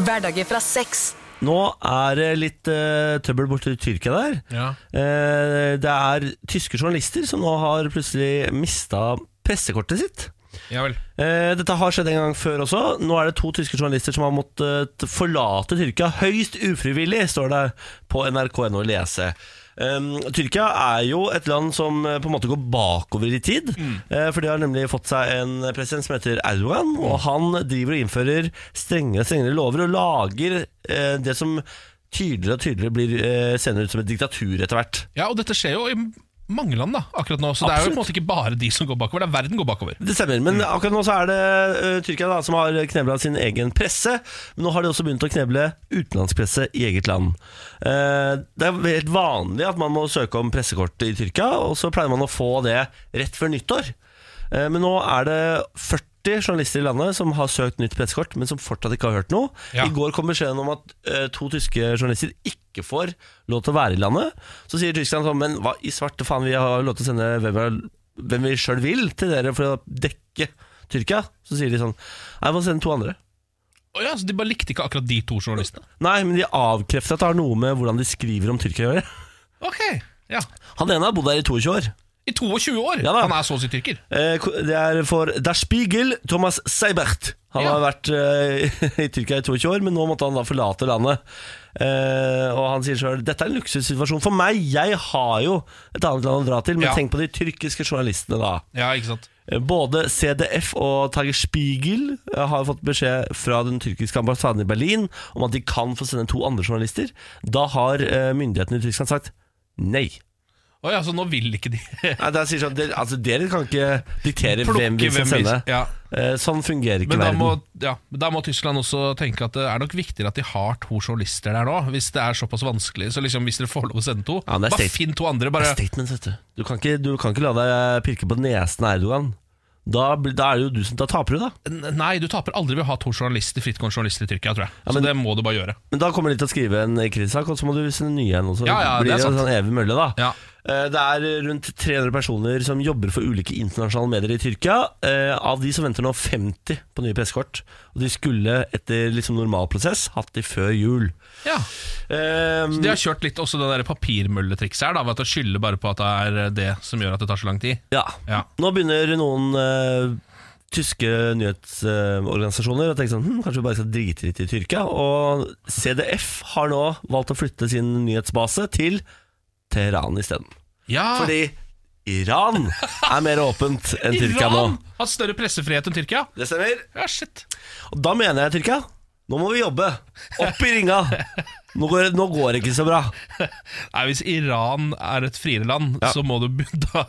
Speaker 3: Hverdager fra seks.
Speaker 1: Nå er det litt eh, trøbbel borti Tyrkia der.
Speaker 2: Ja.
Speaker 1: Eh, det er tyske journalister som nå har plutselig mista pressekortet sitt.
Speaker 2: Ja vel.
Speaker 1: Eh, dette har skjedd en gang før også. Nå er det to tyske journalister som har måttet eh, forlate Tyrkia høyst ufrivillig, står det på nrk.no å lese. Um, Tyrkia er jo et land som eh, på en måte går bakover i tid. Eh, for de har nemlig fått seg en president som heter Erdogan, og han driver og innfører strengere og strengere lover og lager eh, det som tydeligere og tydeligere blir eh, senere ut som et diktatur etter hvert.
Speaker 2: Ja, og dette skjer jo i mange land da, akkurat nå, så det er jo på en
Speaker 1: Absolutt.
Speaker 2: måte ikke bare de som går bakover, det er verden går bakover.
Speaker 1: Det stemmer, men akkurat nå så er det ø, Tyrkia da, som har knebla sin egen presse. Men nå har de også begynt å kneble utenlandsk presse i eget land. Eh, det er helt vanlig at man må søke om pressekort i Tyrkia, og så pleier man å få det rett før nyttår. Eh, men nå er det 40 journalister i landet som har søkt nytt pressekort, men som fortsatt ikke har hørt noe.
Speaker 2: Ja.
Speaker 1: I går kom beskjeden om at eh, to tyske journalister ikke får lov til å være i landet. Så sier Tyskland sånn, men hva i svarte faen, vi har lov til å sende hvem vi, hvem vi sjøl vil til dere for å dekke Tyrkia. Så sier de sånn, nei, vi må sende to andre.
Speaker 2: Å ja, så de bare likte ikke akkurat de to journalistene.
Speaker 1: Nei, men de avkrefter at det har noe med hvordan de skriver om Tyrkia å gjøre.
Speaker 2: Ok, ja.
Speaker 1: Han ene har bodd der i 22 år.
Speaker 2: I 22 år,
Speaker 1: Ja da.
Speaker 2: han er så å si tyrker.
Speaker 1: Eh, ko- Det er for Der Spiegel Thomas Seibert. Han
Speaker 2: Ja.
Speaker 1: har vært eh, i Tyrkia i 22 år, men nå måtte han da forlate landet. Eh, og han sier sjøl dette er en luksussituasjon for meg, jeg har jo et annet land å dra til. Men
Speaker 2: Ja.
Speaker 1: tenk på de tyrkiske journalistene, da.
Speaker 2: Ja, ikke sant?
Speaker 1: Eh, Både CDF og Tager Spiegel eh, har fått beskjed fra den tyrkiske ambassaden i Berlin om at de kan få sende to andre journalister. Da har eh, myndighetene i Tyskland sagt nei.
Speaker 2: Å ja, så nå vil ikke de
Speaker 1: Nei, det er sier sånn, dere, altså, dere kan ikke diktere
Speaker 2: Eh. plukke
Speaker 1: hvem vi skal sende.
Speaker 2: Ja.
Speaker 1: Eh, sånn fungerer ikke
Speaker 2: Men da
Speaker 1: verden.
Speaker 2: må, ja, da må Tyskland også tenke at det er nok viktigere at de har to journalister der nå, hvis det er såpass vanskelig. Så liksom, hvis dere får lov å sende to,
Speaker 1: Ja, det er
Speaker 2: bare
Speaker 1: state-
Speaker 2: finn to
Speaker 1: Det
Speaker 2: andre. Bare,
Speaker 1: er statements, vet du. Du kan ikke, du kan ikke la deg pirke på nesen av Erdogan. Da, blir- da er det jo du som da taper, du, da.
Speaker 2: N- Nei, du taper aldri ved å ha to journalister, frittgående journalister i Tyrkia, tror jeg. Så
Speaker 1: men-
Speaker 2: det må du bare gjøre.
Speaker 1: Men da kommer de til å skrive en krisesak, og så må du sende nye en. Og så
Speaker 2: Ja, ja, det
Speaker 1: blir
Speaker 2: er
Speaker 1: det,
Speaker 2: sant.
Speaker 1: sånn evig mølle, da.
Speaker 2: Ja.
Speaker 1: Eh, Det er rundt 300 personer som jobber for ulike internasjonale medier i Tyrkia. Eh, Av de så venter nå 50 på nye pressekort. Og de skulle etter liksom normal prosess hatt de før jul.
Speaker 2: Ja.
Speaker 1: Eh,
Speaker 2: De har kjørt litt også det der papirmølletrikset her, da, ved at de skylder bare på at det er eh, det som gjør at det tar så lang tid.
Speaker 1: Ja.
Speaker 2: Ja.
Speaker 1: Nå begynner noen eh, tyske nyhetsorganisasjoner å tenke sånn hm, Kanskje vi bare skal drite litt i Tyrkia? Og CDF har nå valgt å flytte sin nyhetsbase til Teheran isteden.
Speaker 2: Ja,
Speaker 1: Fordi Iran er mer åpent enn Tyrkia nå.
Speaker 2: Iran har større pressefrihet enn Tyrkia.
Speaker 1: Det stemmer.
Speaker 2: Ja, shit.
Speaker 1: Og da mener jeg, Tyrkia, nå må vi jobbe. Opp i ringa. Nå går, nå går det ikke så bra.
Speaker 2: Nei, Hvis Iran er et friere land,
Speaker 1: Ja.
Speaker 2: så må du, be- da,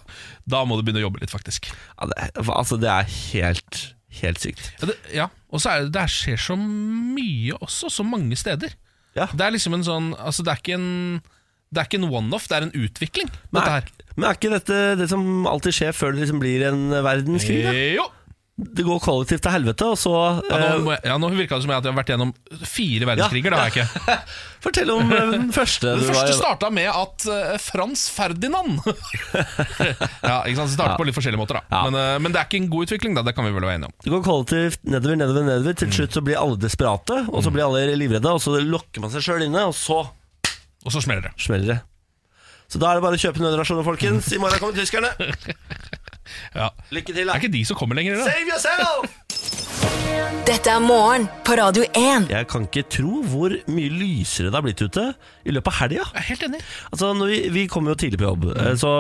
Speaker 2: da må du begynne å jobbe litt, faktisk.
Speaker 1: Ja, det, altså, det er helt, helt sykt.
Speaker 2: Ja, det, ja. Og så er det, det skjer så mye også, så mange steder.
Speaker 1: Ja.
Speaker 2: Det er liksom en sånn Altså, det er ikke en Det er ikke en one-off, det er en utvikling,
Speaker 1: Men
Speaker 2: dette
Speaker 1: er,
Speaker 2: her.
Speaker 1: men er ikke dette det som alltid skjer før det liksom blir en verdenskrig? Da?
Speaker 2: Eh, Jo.
Speaker 1: Det går kollektivt til helvete, og så
Speaker 2: Ja, nå,
Speaker 1: eh,
Speaker 2: må jeg- ja, nå virka det som jeg at jeg har vært gjennom fire verdenskriger. Det har jeg ikke.
Speaker 1: Fortell om eh, den første
Speaker 2: Den
Speaker 1: du var
Speaker 2: første
Speaker 1: i.
Speaker 2: starta med at eh, Frans Ferdinand Ja, ikke sant, så starter på litt forskjellige måter, da.
Speaker 1: Ja.
Speaker 2: Men, eh, men det er ikke en god utvikling, da. Det kan vi vel være enige om.
Speaker 1: Det går kollektivt nedover, nedover, nedover. Til slutt så blir alle desperate, og
Speaker 2: Mm.
Speaker 1: så blir alle livredde, og så lokker man seg sjøl inne, og så
Speaker 2: Og så smeller det.
Speaker 1: smeller det. Så da er det bare å kjøpe nødrasjoner, folkens. I morgen kommer tyskerne.
Speaker 2: Ja.
Speaker 1: Lykke til,
Speaker 2: Det
Speaker 1: da.
Speaker 2: er ikke de som kommer lenger. Da.
Speaker 1: Save yourself!
Speaker 3: Dette er morgen på Radio 1.
Speaker 1: Jeg kan ikke tro hvor mye lysere det har blitt ute i løpet av helga.
Speaker 2: Jeg er helt enig.
Speaker 1: Altså, når vi, vi kommer jo tidlig på jobb,
Speaker 2: Mm.
Speaker 1: eh, så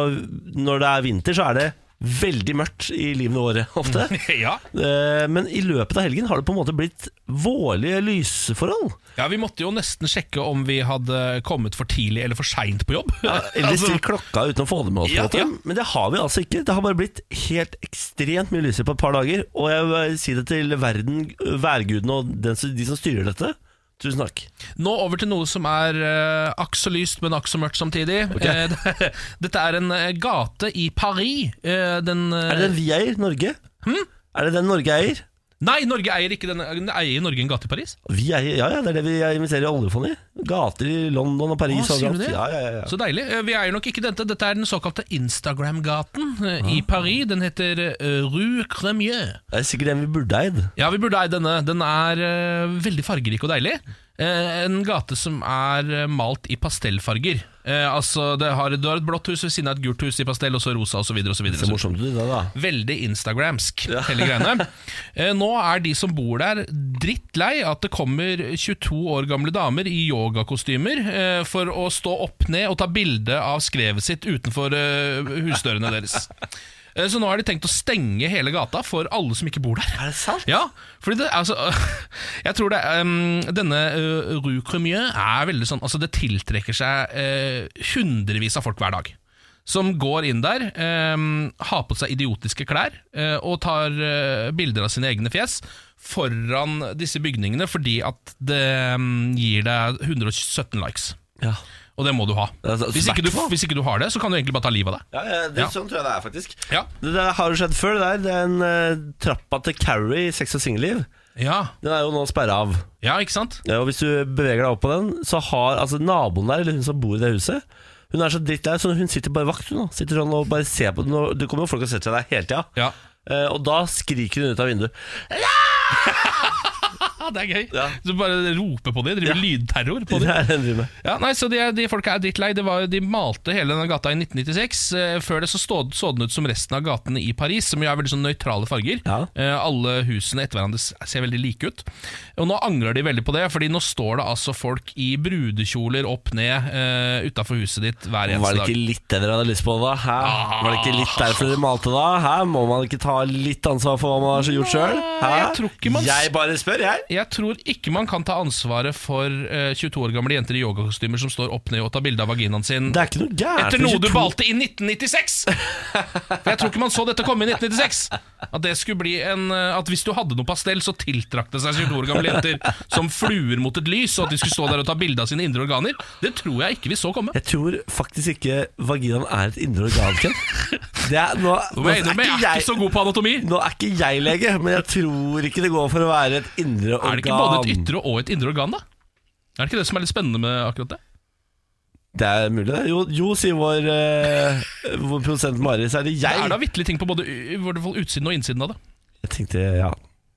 Speaker 1: når det er vinter, så er det veldig mørkt i livene våre ofte.
Speaker 2: Ja.
Speaker 1: Eh, Men i løpet av helgen har det på en måte blitt vårlige lysforhold.
Speaker 2: ja, Vi måtte jo nesten sjekke om vi hadde kommet for tidlig eller for seint på jobb.
Speaker 1: Eller
Speaker 2: Altså,
Speaker 1: still klokka uten å få det med oss. på en
Speaker 2: Ja,
Speaker 1: måte.
Speaker 2: ja.
Speaker 1: Men det har vi altså ikke. Det har bare blitt helt ekstremt mye lysere på et par dager. Og jeg vil si det til verden, værgudene og den, som- de som styrer dette. Tusen takk.
Speaker 2: nå over til noe som er uh, akk så lyst, men akk så mørkt samtidig. Eh, det- dette er en eh, gate i Paris. eh, den, eh,
Speaker 1: Er det den vi eier, Norge?
Speaker 2: Hm?
Speaker 1: Er det den Norge eier?
Speaker 2: Nei, Norge eier ikke den. den Eier Norge en gate i Paris?
Speaker 1: Vi eier, ja, ja, det er det vi investerer i oljefondet i. Gater i London og Paris.
Speaker 2: Å, sier
Speaker 1: overalt.
Speaker 2: du det?
Speaker 1: Ja, ja, ja, ja.
Speaker 2: Så deilig. Eh, Vi eier nok ikke dette. Dette er den såkalte Instagram-gaten
Speaker 1: Ah.
Speaker 2: eh, i Paris. Den heter eh, Rue Cremieux.
Speaker 1: Det er sikkert den vi burde eid.
Speaker 2: Ja, vi burde eie denne. Den er eh, veldig fargerik og deilig. Eh, en gate som er eh, malt i pastellfarger. Eh, altså, det har, du har et blått hus ved siden av et gult hus i pastell, og så rosa osv.
Speaker 1: Det er morsomt ut, det da.
Speaker 2: Veldig instagramsk, hele greiene. Eh, Nå er de som bor der drittlei at det kommer 22 år gamle damer i yogakostymer eh, for å stå opp ned og ta bilde av skrevet sitt utenfor eh, husdørene deres. Eh, Så nå har de tenkt å stenge hele gata for alle som ikke bor der.
Speaker 1: Er det sant?
Speaker 2: Ja, fordi det, altså, jeg tror det, um, denne uh, Rue Cremieux er veldig sånn, altså det tiltrekker seg eh, hundrevis av folk hver dag. Som går inn der, em, har på seg idiotiske klær eh, og tar eh, bilder av sine egne fjes foran disse bygningene fordi at det em, gir deg 117 likes.
Speaker 1: Ja.
Speaker 2: Og det må du ha.
Speaker 1: Altså,
Speaker 2: Hvis ikke du,
Speaker 1: hvertfall.
Speaker 2: hvis ikke du har det, så kan du egentlig bare ta livet av deg.
Speaker 1: Ja, ja, det,
Speaker 2: Ja.
Speaker 1: Sånn tror jeg det er, faktisk.
Speaker 2: Ja.
Speaker 1: Det der har jo skjedd før. Det der Det er en eh, trappa til Carrie i sex og singelliv.
Speaker 2: Ja,
Speaker 1: Den er jo nå sperra av.
Speaker 2: ja ikke sant?
Speaker 1: Ja, og Hvis du beveger deg opp på den, så har altså naboen der, eller hun som bor i det huset Hun er så drittlei, så hun sitter bare vakt. Hun, da. sitter sånn og bare ser på den. og Det kommer jo folk og setter seg der hele tida.
Speaker 2: Ja.
Speaker 1: Eh, og da skriker hun ut av vinduet.
Speaker 2: Ah, det er gøy.
Speaker 1: Ja.
Speaker 2: Så bare roper på dem, driver lydterror på
Speaker 1: Det
Speaker 2: dem.
Speaker 1: er den driver med.
Speaker 2: Ja, nei, så De, de folka er drittlei. Det var, jo- de malte hele denne gata i 1996. Eh, før det så, stå, så den ut som resten av gatene i Paris, som jo er veldig sånn nøytrale farger.
Speaker 1: Ja.
Speaker 2: Eh, alle husene etter hverandre s- ser veldig like ut. Og Nå angrer de veldig på det, Fordi nå står det altså folk i brudekjoler opp ned eh, utafor huset ditt hver
Speaker 1: Var
Speaker 2: eneste
Speaker 1: det
Speaker 2: dag.
Speaker 1: ikke litt det dere hadde lyst på da? Hæ? Var det ikke litt derfor dere malte da? Hæ? Må man ikke ta litt ansvar for hva man har gjort sjøl?
Speaker 2: jeg tror ikke man-
Speaker 1: Jeg bare spør, jeg.
Speaker 2: Jeg jeg tror ikke man kan ta ansvaret for eh, 22 år gamle jenter i yogakostymer som står opp ned og tar bilde av vaginaen sin.
Speaker 1: Det er ikke noe gærent
Speaker 2: Etter
Speaker 1: med
Speaker 2: noe du
Speaker 1: 22
Speaker 2: valgte i 1996! For jeg tror ikke man så dette komme i 1996. At det skulle bli en eh, At hvis du hadde noe pastell, så tiltrakk det seg 22 år gamle jenter som fluer mot et lys, og at de skulle stå der og ta bilde av sine indre organer. Det tror jeg ikke vi så komme.
Speaker 1: Jeg tror faktisk ikke vaginaen er et indre organ, Ken. Det er, nå,
Speaker 2: Nå
Speaker 1: nå
Speaker 2: må jeg innrømme, jeg er ikke så god på anatomi.
Speaker 1: Nå er ikke jeg lege, men jeg tror ikke det går for å være et indre organ.
Speaker 2: Er det ikke både et ytre og et indre organ, da? Er det ikke det som er litt spennende med akkurat det?
Speaker 1: Det er mulig, det. Jo, jo sier vår, eh, vår produsent Mari, så er det
Speaker 2: Det
Speaker 1: jeg.
Speaker 2: er da vitterlig ting på både i hvert fall utsiden og innsiden av det.
Speaker 1: Jeg tenkte, ja.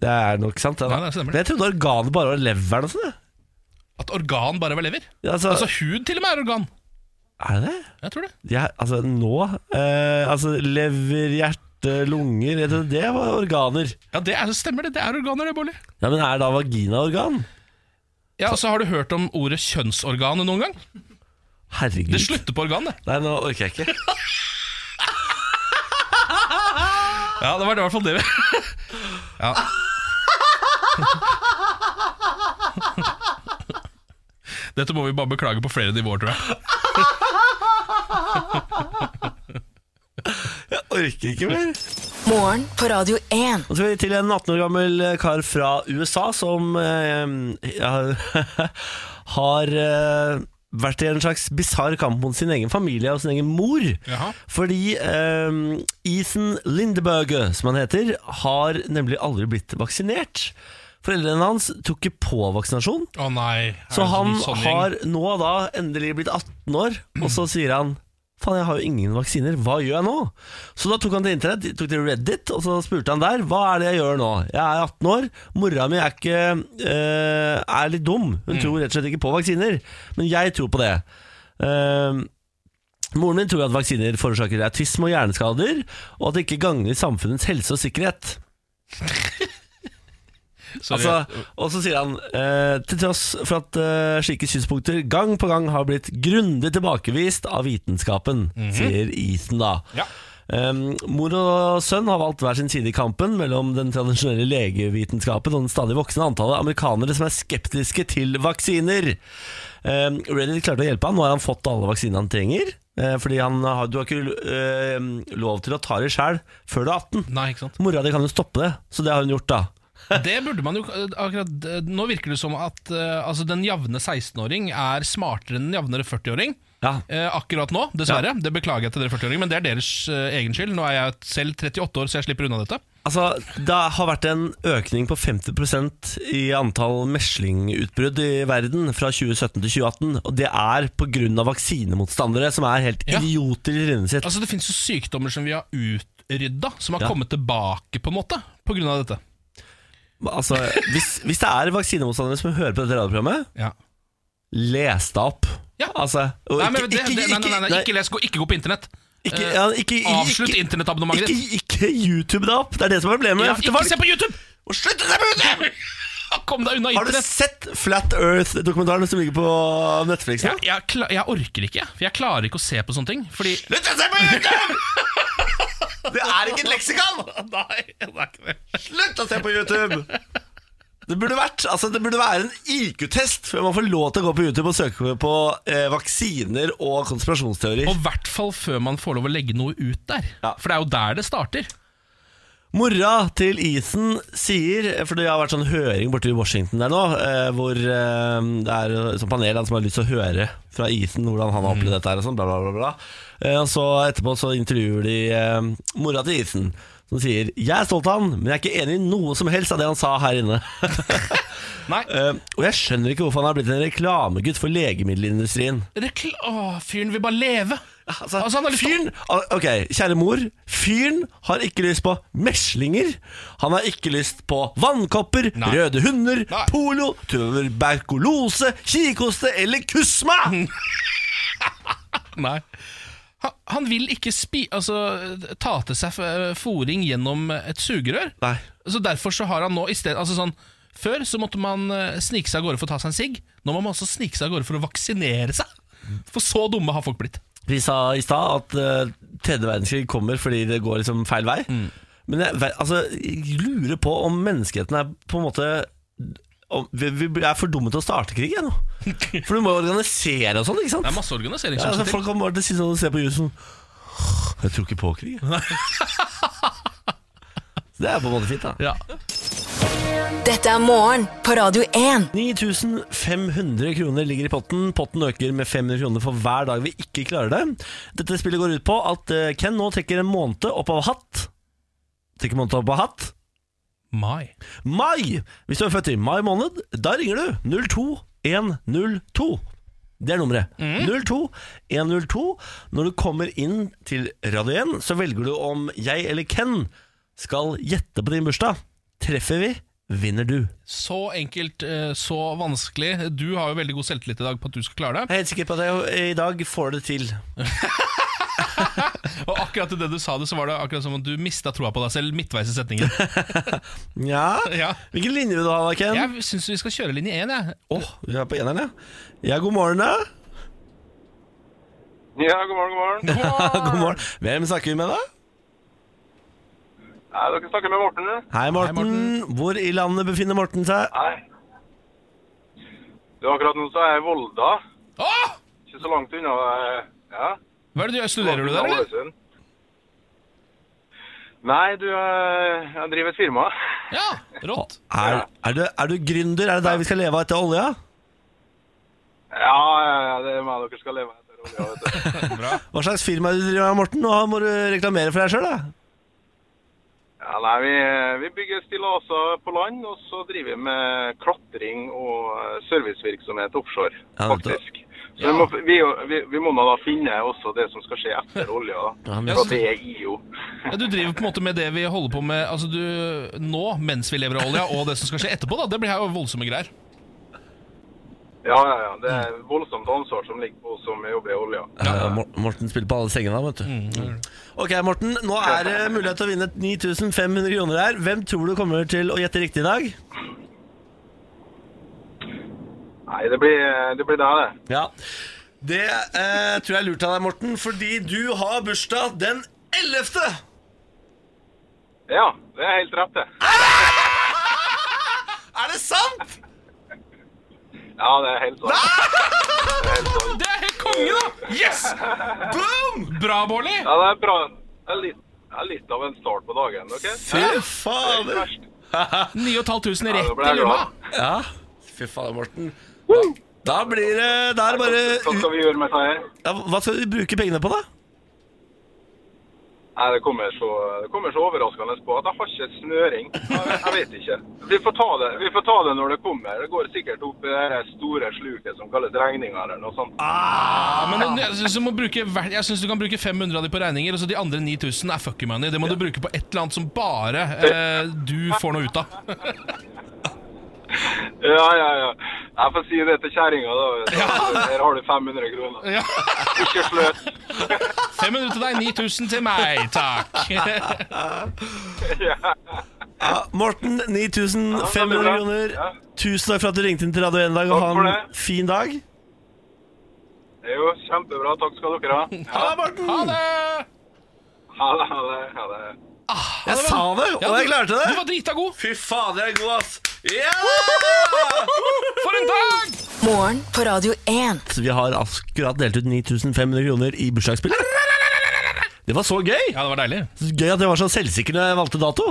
Speaker 1: Det er nok sant. det da.
Speaker 2: Ja, det stemmer.
Speaker 1: men jeg trodde organet bare var leveren og sånn. jeg.
Speaker 2: At organ bare var lever.
Speaker 1: Ja, altså,
Speaker 2: Altså hud til og med er organ.
Speaker 1: er det det?
Speaker 2: Jeg tror det.
Speaker 1: Jeg, altså, nå eh, Altså, lever, hjerte, lunger Jeg trodde det var organer.
Speaker 2: Ja, det er, stemmer det. Det er organer, det, Bolli.
Speaker 1: Ja, Men er da vagina organ?
Speaker 2: Ja, og så Har du hørt om ordet kjønnsorgan noen gang?
Speaker 1: Herregud.
Speaker 2: Det slutter på organ, det.
Speaker 1: Nei, nå orker jeg ikke.
Speaker 2: Ja, det var det i hvert fall det vi Ja. Dette må vi bare beklage på flere nivåer, tror jeg.
Speaker 1: Jeg orker ikke mer.
Speaker 3: Morgen på Radio 1.
Speaker 1: Og så vil vi til en 18 år gammel eh, kar fra USA som eh, ja, har eh, vært i en slags bisarr kamp mot sin egen familie og sin egen mor.
Speaker 2: Jaha.
Speaker 1: Fordi eh, Ethan Lindeberger, som han heter, har nemlig aldri blitt vaksinert. Foreldrene hans tok ikke på vaksinasjon,
Speaker 2: Å nei. er
Speaker 1: så
Speaker 2: det
Speaker 1: han
Speaker 2: en sånn gjeng?
Speaker 1: har nå da endelig blitt 18 år, og så sier han Faen, jeg har jo ingen vaksiner, hva gjør jeg nå? Så da tok han til internett, tok til Reddit, og så spurte han der, hva er det jeg gjør nå? Jeg er 18 år, mora mi er ikke eh, er litt dum,
Speaker 2: Mm.
Speaker 1: hun tror rett og slett ikke på vaksiner, men jeg tror på det. Eh, moren min tror at vaksiner forårsaker autisme og hjerneskader, og at det ikke gagner samfunnets helse og sikkerhet.
Speaker 2: Sorry.
Speaker 1: Altså, og så sier han eh, Til tross for at eh, slike synspunkter gang på gang har blitt grundig tilbakevist av vitenskapen, sier Ethan da.
Speaker 2: Mhm. Ja.
Speaker 1: Em, mor og sønn har valgt hver sin side i kampen mellom den tradisjonelle legevitenskapen og den stadig voksende antallet amerikanere som er skeptiske til vaksiner. Um, Reddit klarte å hjelpe han. Nå har han fått alle vaksinene han trenger. eh, fordi han har, du har ikke eh, lov til å ta det sjøl før du er 18.
Speaker 2: Nei, ikke sant.
Speaker 1: Mora di kan jo stoppe det, så det har hun gjort, da.
Speaker 2: Det burde man jo akkurat Nå virker det som at eh, altså, den jevne 16-åring er smartere enn den jevnere 40-åring.
Speaker 1: Ja,
Speaker 2: Eh, akkurat nå, dessverre. Det beklager jeg til dere 40-åringer, men det er deres eh, egen skyld. Nå er jeg selv 38 år, så jeg slipper unna dette.
Speaker 1: Altså, Det har vært en økning på 50 i antall meslingutbrudd i verden fra 2017 til 2018. Og det er pga. vaksinemotstandere som er helt
Speaker 2: Ja.
Speaker 1: idioter i trynet sitt.
Speaker 2: Altså Det fins jo sykdommer som vi har utrydda, som har
Speaker 1: Ja.
Speaker 2: kommet tilbake på en måte pga. dette.
Speaker 1: Altså, hvis, hvis det er vaksinemotstandere som hører på dette radioprogrammet,
Speaker 2: Ja.
Speaker 1: les deg opp.
Speaker 2: Ja.
Speaker 1: Altså, og
Speaker 2: Nei, men
Speaker 1: ikke-
Speaker 2: det,
Speaker 1: ikke-
Speaker 2: det, nei, nei, nei, nei,
Speaker 1: nei,
Speaker 2: ikke les, gå, ikke gå på internett.
Speaker 1: ikke-
Speaker 2: Eh,
Speaker 1: ja, ikke- ikke-
Speaker 2: Avslutt
Speaker 1: ikke-
Speaker 2: internettabonnementet ditt.
Speaker 1: Ikke, ikke YouTube deg opp! Det er det som er problemet.
Speaker 2: Ja,
Speaker 1: Det
Speaker 2: ikke
Speaker 1: var-
Speaker 2: se på YouTube!
Speaker 1: Og slutt å se på YouTube!
Speaker 2: Kom deg unna
Speaker 1: Har du
Speaker 2: internett!
Speaker 1: sett Flat Earth-dokumentaren som ligger på Netflix? nå?
Speaker 2: Jeg, jeg, kla- jeg orker ikke, for jeg klarer ikke å se på sånne ting. Fordi
Speaker 1: Slutt å se på YouTube! Det er ikke et leksikon!
Speaker 2: Nei, det er ikke det.
Speaker 1: Slutt å se på YouTube! Det burde, vært, altså det burde være en IQ-test før man får lov til å gå på YouTube og søke på eh, vaksiner og konspirasjonsteorier.
Speaker 2: Og i hvert fall før man får lov å legge noe ut der.
Speaker 1: Ja.
Speaker 2: For det er jo der det starter.
Speaker 1: Mora til Ethan sier, for det har vært sånn høring borte i Washington der nå, eh, hvor eh, det er et sånt panel han som har lyst til å høre fra Ethan hvordan han har opplevd dette her og sånn, bla, bla, bla. bla. Eh, og så etterpå så intervjuer de eh, mora til Ethan, som sier 'Jeg er stolt av han, men jeg er ikke enig i noe som helst av det han sa her inne'.
Speaker 2: Nei,
Speaker 1: Eh, og jeg skjønner ikke hvorfor han har blitt en reklamegutt for legemiddelindustrien.
Speaker 2: rekl Åh, fyren vil bare leve.
Speaker 1: Altså,
Speaker 2: Altså, han har lyst til å-
Speaker 1: fyren, al- ok, kjære mor Fyren har ikke lyst på meslinger Han har ikke lyst på vannkopper
Speaker 2: Nei.
Speaker 1: Røde hunder,
Speaker 2: Nei.
Speaker 1: polo Tuberkulose, kikoste Eller kusma
Speaker 2: Mhm. Nei. Han, han vil ikke spi... Altså, ta til seg f- fôring gjennom et sugerør.
Speaker 1: Nei.
Speaker 2: Så derfor så har han nå i stedet altså sånn, Før så måtte man eh, snike seg av gårde for å ta seg en sigg. Nå må man også snike seg av gårde for å vaksinere seg. For så dumme har folk blitt.
Speaker 1: Vi sa i stad at eh, tredje verdenskrig kommer Fordi det går liksom feil
Speaker 2: Mm.
Speaker 1: vei Men jeg, ve- altså, jeg lurer på om menneskeheten er på en måte om- vi, vi er for dumme til å starte krig jeg, nå. For du må jo organisere og sånn, ikke sant?
Speaker 2: Det er
Speaker 1: Ja,
Speaker 2: masse
Speaker 1: altså,
Speaker 2: organiseringsøvelser til.
Speaker 1: folk kommer bare til å si sånn og se på jusen Jeg tror ikke på krig jeg. Det er på en måte fint da
Speaker 2: Ja.
Speaker 3: Dette er morgen på Radio 1.
Speaker 1: 9500 kroner ligger i potten Potten øker med 500 kroner for hver dag vi ikke klarer det Dette spillet går ut på at eh, Ken nå trekker en måned opp av hatt Trekker en måned opp av hatt
Speaker 2: Mai.
Speaker 1: Mai! Hvis du er født i mai måned, da ringer du 02102. Det er nummeret. 02102. Når du kommer inn til Radio 1, så velger du om jeg eller Ken skal gjette på din bursdag. Treffer vi, vinner du.
Speaker 2: Så enkelt, eh, så vanskelig. Du har jo veldig god selvtillit i dag på at du skal klare det.
Speaker 1: Jeg er helt sikker på at jeg i dag får det til.
Speaker 2: Og akkurat i det du sa det, så var det akkurat som om du mista troa på deg selv midtveis i setningen.
Speaker 1: Nja
Speaker 2: Ja.
Speaker 1: Hvilken linje vil du ha da, Ken? Åh,
Speaker 2: Jeg syns vi skal kjøre linje én, jeg.
Speaker 1: vi er på eneren, ja. Ja, god morgen, da.
Speaker 4: Ja, god morgen, god morgen.
Speaker 1: god morgen. Hvem snakker vi med, da?
Speaker 4: Nei, dere snakker med Morten, du?
Speaker 1: Hei, Morten. Hvor i landet befinner Morten seg?
Speaker 4: Nei. Du, akkurat nå så er jeg i Volda.
Speaker 2: Åh!
Speaker 4: Ikke så langt unna. eh, Ja.
Speaker 2: Hva er det du gjør? Studerer du der, eller?
Speaker 4: Ålesund. Nei, du, eh, jeg driver et firma.
Speaker 2: Ja, rått.
Speaker 1: Er, er, du, er du gründer? Er det deg vi skal leve av etter olja?
Speaker 4: Ja, ja, ja, det er meg dere skal leve etter. olja, vet du.
Speaker 1: Hva slags firma er det du driver med, Morten? Nå må du reklamere for deg sjøl, da.
Speaker 4: Ja, nei, vi, vi bygger stillaser på land, og så driver vi med klatring og eh, servicevirksomhet offshore,
Speaker 1: Ja, vet du.
Speaker 4: faktisk. Så vi må, vi, vi, vi må nå da finne også det som skal skje etter olja, da.
Speaker 1: men-
Speaker 4: For det er IO.
Speaker 2: Ja, du driver på en måte med det vi holder på med altså du, nå, mens vi lever av olja, og det som skal skje etterpå. da Det blir her jo voldsomme greier.
Speaker 4: Ja, ja, ja. Det er voldsomt ansvar som ligger på oss som jobber i olja.
Speaker 1: Ja, Eh, Mor- Morten spiller på alle sengene, vet du. Ok, Morten. Nå er det mulighet til å vinne 9500 kroner her. Hvem tror du kommer til å gjette riktig i dag?
Speaker 4: Nei, det blir, det blir deg, det.
Speaker 1: Ja. Det eh, tror jeg er lurt av deg, Morten, fordi du har bursdag den 11.
Speaker 4: Ja, det er helt rett, det.
Speaker 1: Er det sant?!
Speaker 4: Ja, det er helt sant. Det er helt sant.
Speaker 2: Det er helt konge, da! Yes!
Speaker 1: Boom!
Speaker 2: Bra, Bårli!
Speaker 4: Ja, det er bra. Det er litt, det er litt av en start på dagen, OK?
Speaker 1: Fy fader.
Speaker 2: 9500
Speaker 4: Ja, da
Speaker 2: rett i
Speaker 4: ble jeg
Speaker 2: lomma.
Speaker 4: glad.
Speaker 1: Ja. Fy fader, Morten. Da, da blir det Da er det
Speaker 4: Hva
Speaker 1: bare
Speaker 4: skal vi gjøre med dette her?
Speaker 1: ja, Hva skal du bruke pengene på, da?
Speaker 4: Nei, det kommer, så, det kommer så overraskende på at jeg har ikke snøring. Jeg, jeg vet ikke. Vi får, ta det. vi får ta det når det kommer. Det går sikkert opp i det her store sluket som kalles regninger eller noe sånt.
Speaker 2: Ja, men jeg syns du, må bruke hver- jeg synes du kan bruke 500 av de på regninger, og så de andre 9000 er fuck you money. Det må du bruke på et eller annet som bare eh, du får noe ut av.
Speaker 4: Ja, ja, ja. Jeg får si det til kjerringa, da. vet du. Her har du 500 kroner.
Speaker 2: Ja.
Speaker 4: Ikke sløs.
Speaker 2: 500 til deg, 9000 til meg, takk.
Speaker 1: Ja, Morten, 9500
Speaker 4: Ja, det blir bra.
Speaker 1: kroner.
Speaker 4: Ja.
Speaker 1: Tusen takk for at du ringte inn til Radio 1 i dag, og
Speaker 4: Takk
Speaker 1: ha
Speaker 4: for
Speaker 1: en
Speaker 4: det.
Speaker 1: fin dag.
Speaker 4: Det er jo kjempebra. Takk skal dere ha.
Speaker 1: Ha det, Morten!
Speaker 2: Ha det!
Speaker 4: Ha det, ha det. Ha det.
Speaker 1: Jeg sa det,
Speaker 2: Ja,
Speaker 1: og jeg
Speaker 2: du-
Speaker 1: klarte
Speaker 2: Du var
Speaker 1: det.
Speaker 2: drita god.
Speaker 1: Fy fader, jeg er god, ass. Ja!
Speaker 2: For en dag!
Speaker 3: Morgen på Radio 1.
Speaker 1: Vi har akkurat delt ut 9500 kroner i bursdagsspillet. Det var så gøy!
Speaker 2: Ja, det var deilig.
Speaker 1: Så gøy at jeg var så selvsikker når jeg valgte dato.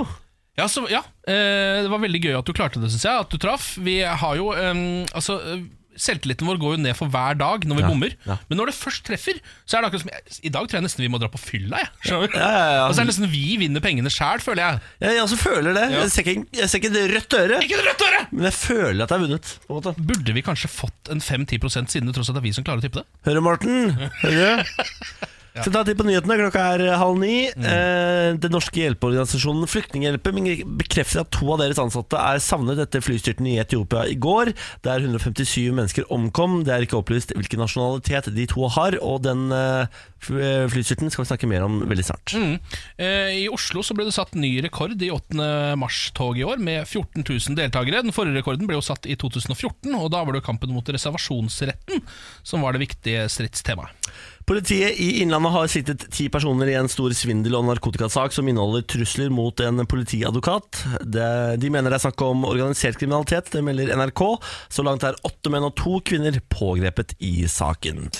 Speaker 2: Ja, så, ja. Eh, det var veldig gøy at du klarte det, syns jeg. At du traff. Vi har jo eh, Altså, eh, selvtilliten vår går jo ned for hver dag når vi bommer.
Speaker 1: ja.
Speaker 2: Men når det først treffer, så er det akkurat som jeg, I dag tror jeg nesten vi må dra på fylla, jeg. Skjønner du?
Speaker 1: Ja, ja, ja.
Speaker 2: Og så er det nesten vi vinner pengene sjæl, føler jeg.
Speaker 1: Jeg, jeg også føler det. Jeg ser ikke, jeg ser ikke det rødt øre,
Speaker 2: Ikke det rødt øre!
Speaker 1: men jeg føler at jeg har vunnet. På en måte.
Speaker 2: Burde vi kanskje fått en 5-10 siden det tross alt er vi som klarer å tippe det?
Speaker 1: Hører du, Morten? Hører du? Skal ta tid på nyhetene. Klokka er halv ni. Eh, Den norske hjelpeorganisasjonen Flyktninghjelpen bekrefter at to av deres ansatte er savnet etter flystyrten i Etiopia i går, der 157 mennesker omkom. Det er ikke opplyst hvilken nasjonalitet de to har, og den eh, fly- flystyrten skal vi snakke mer om veldig snart.
Speaker 2: Eh, I Oslo så ble det satt ny rekord i 8. mars-toget i år, med 14 000 deltakere. Den forrige rekorden ble jo satt i 2014, og da var det jo kampen mot reservasjonsretten som var det viktige stridstemaet.
Speaker 1: Politiet i Innlandet har siktet ti personer i en stor svindel- og narkotikasak som inneholder trusler mot en politiadvokat. Det- De mener det er snakk om organisert kriminalitet, det melder NRK. Så langt er åtte menn og to kvinner pågrepet i saken.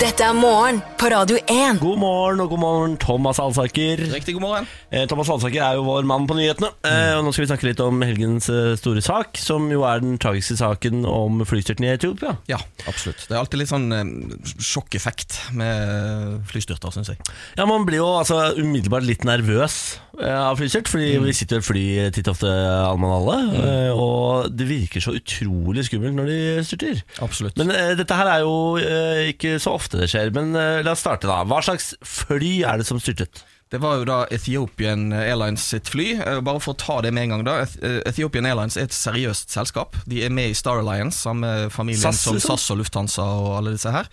Speaker 3: Dette er morgen på Radio 1.
Speaker 1: God morgen og god morgen, Thomas Alsaker.
Speaker 5: Riktig god morgen. Mm.
Speaker 1: Eh, Thomas Hansaker er jo vår mann på nyhetene. Eh, og Nå skal vi snakke litt om helgens eh, store sak, som jo er den tragiske saken om flystyrten i Etiopia.
Speaker 6: Ja, absolutt. Det er alltid litt sånn eh, sjokkeffekt med flystyrter, syns jeg.
Speaker 1: Ja, Man blir jo altså umiddelbart litt nervøs eh, av flystyrt, fordi vi sitter i et fly titt og ofte, alle mann alle. eh, Og det virker så utrolig skummelt når de styrter.
Speaker 6: Absolutt.
Speaker 1: Men eh, dette her er jo eh, ikke så ofte det skjer. Men eh, la oss starte, da. Hva slags fly er det som styrtet?
Speaker 6: Det var jo da Ethiopian Airlines sitt fly. Eh, Bare for å ta det med en gang, da. Eth- eh, Ethiopian Airlines er et seriøst selskap. De er med i Star Alliance, samme familien
Speaker 1: SAS,
Speaker 6: som
Speaker 1: liksom?
Speaker 6: SAS og Lufthansa og alle disse her.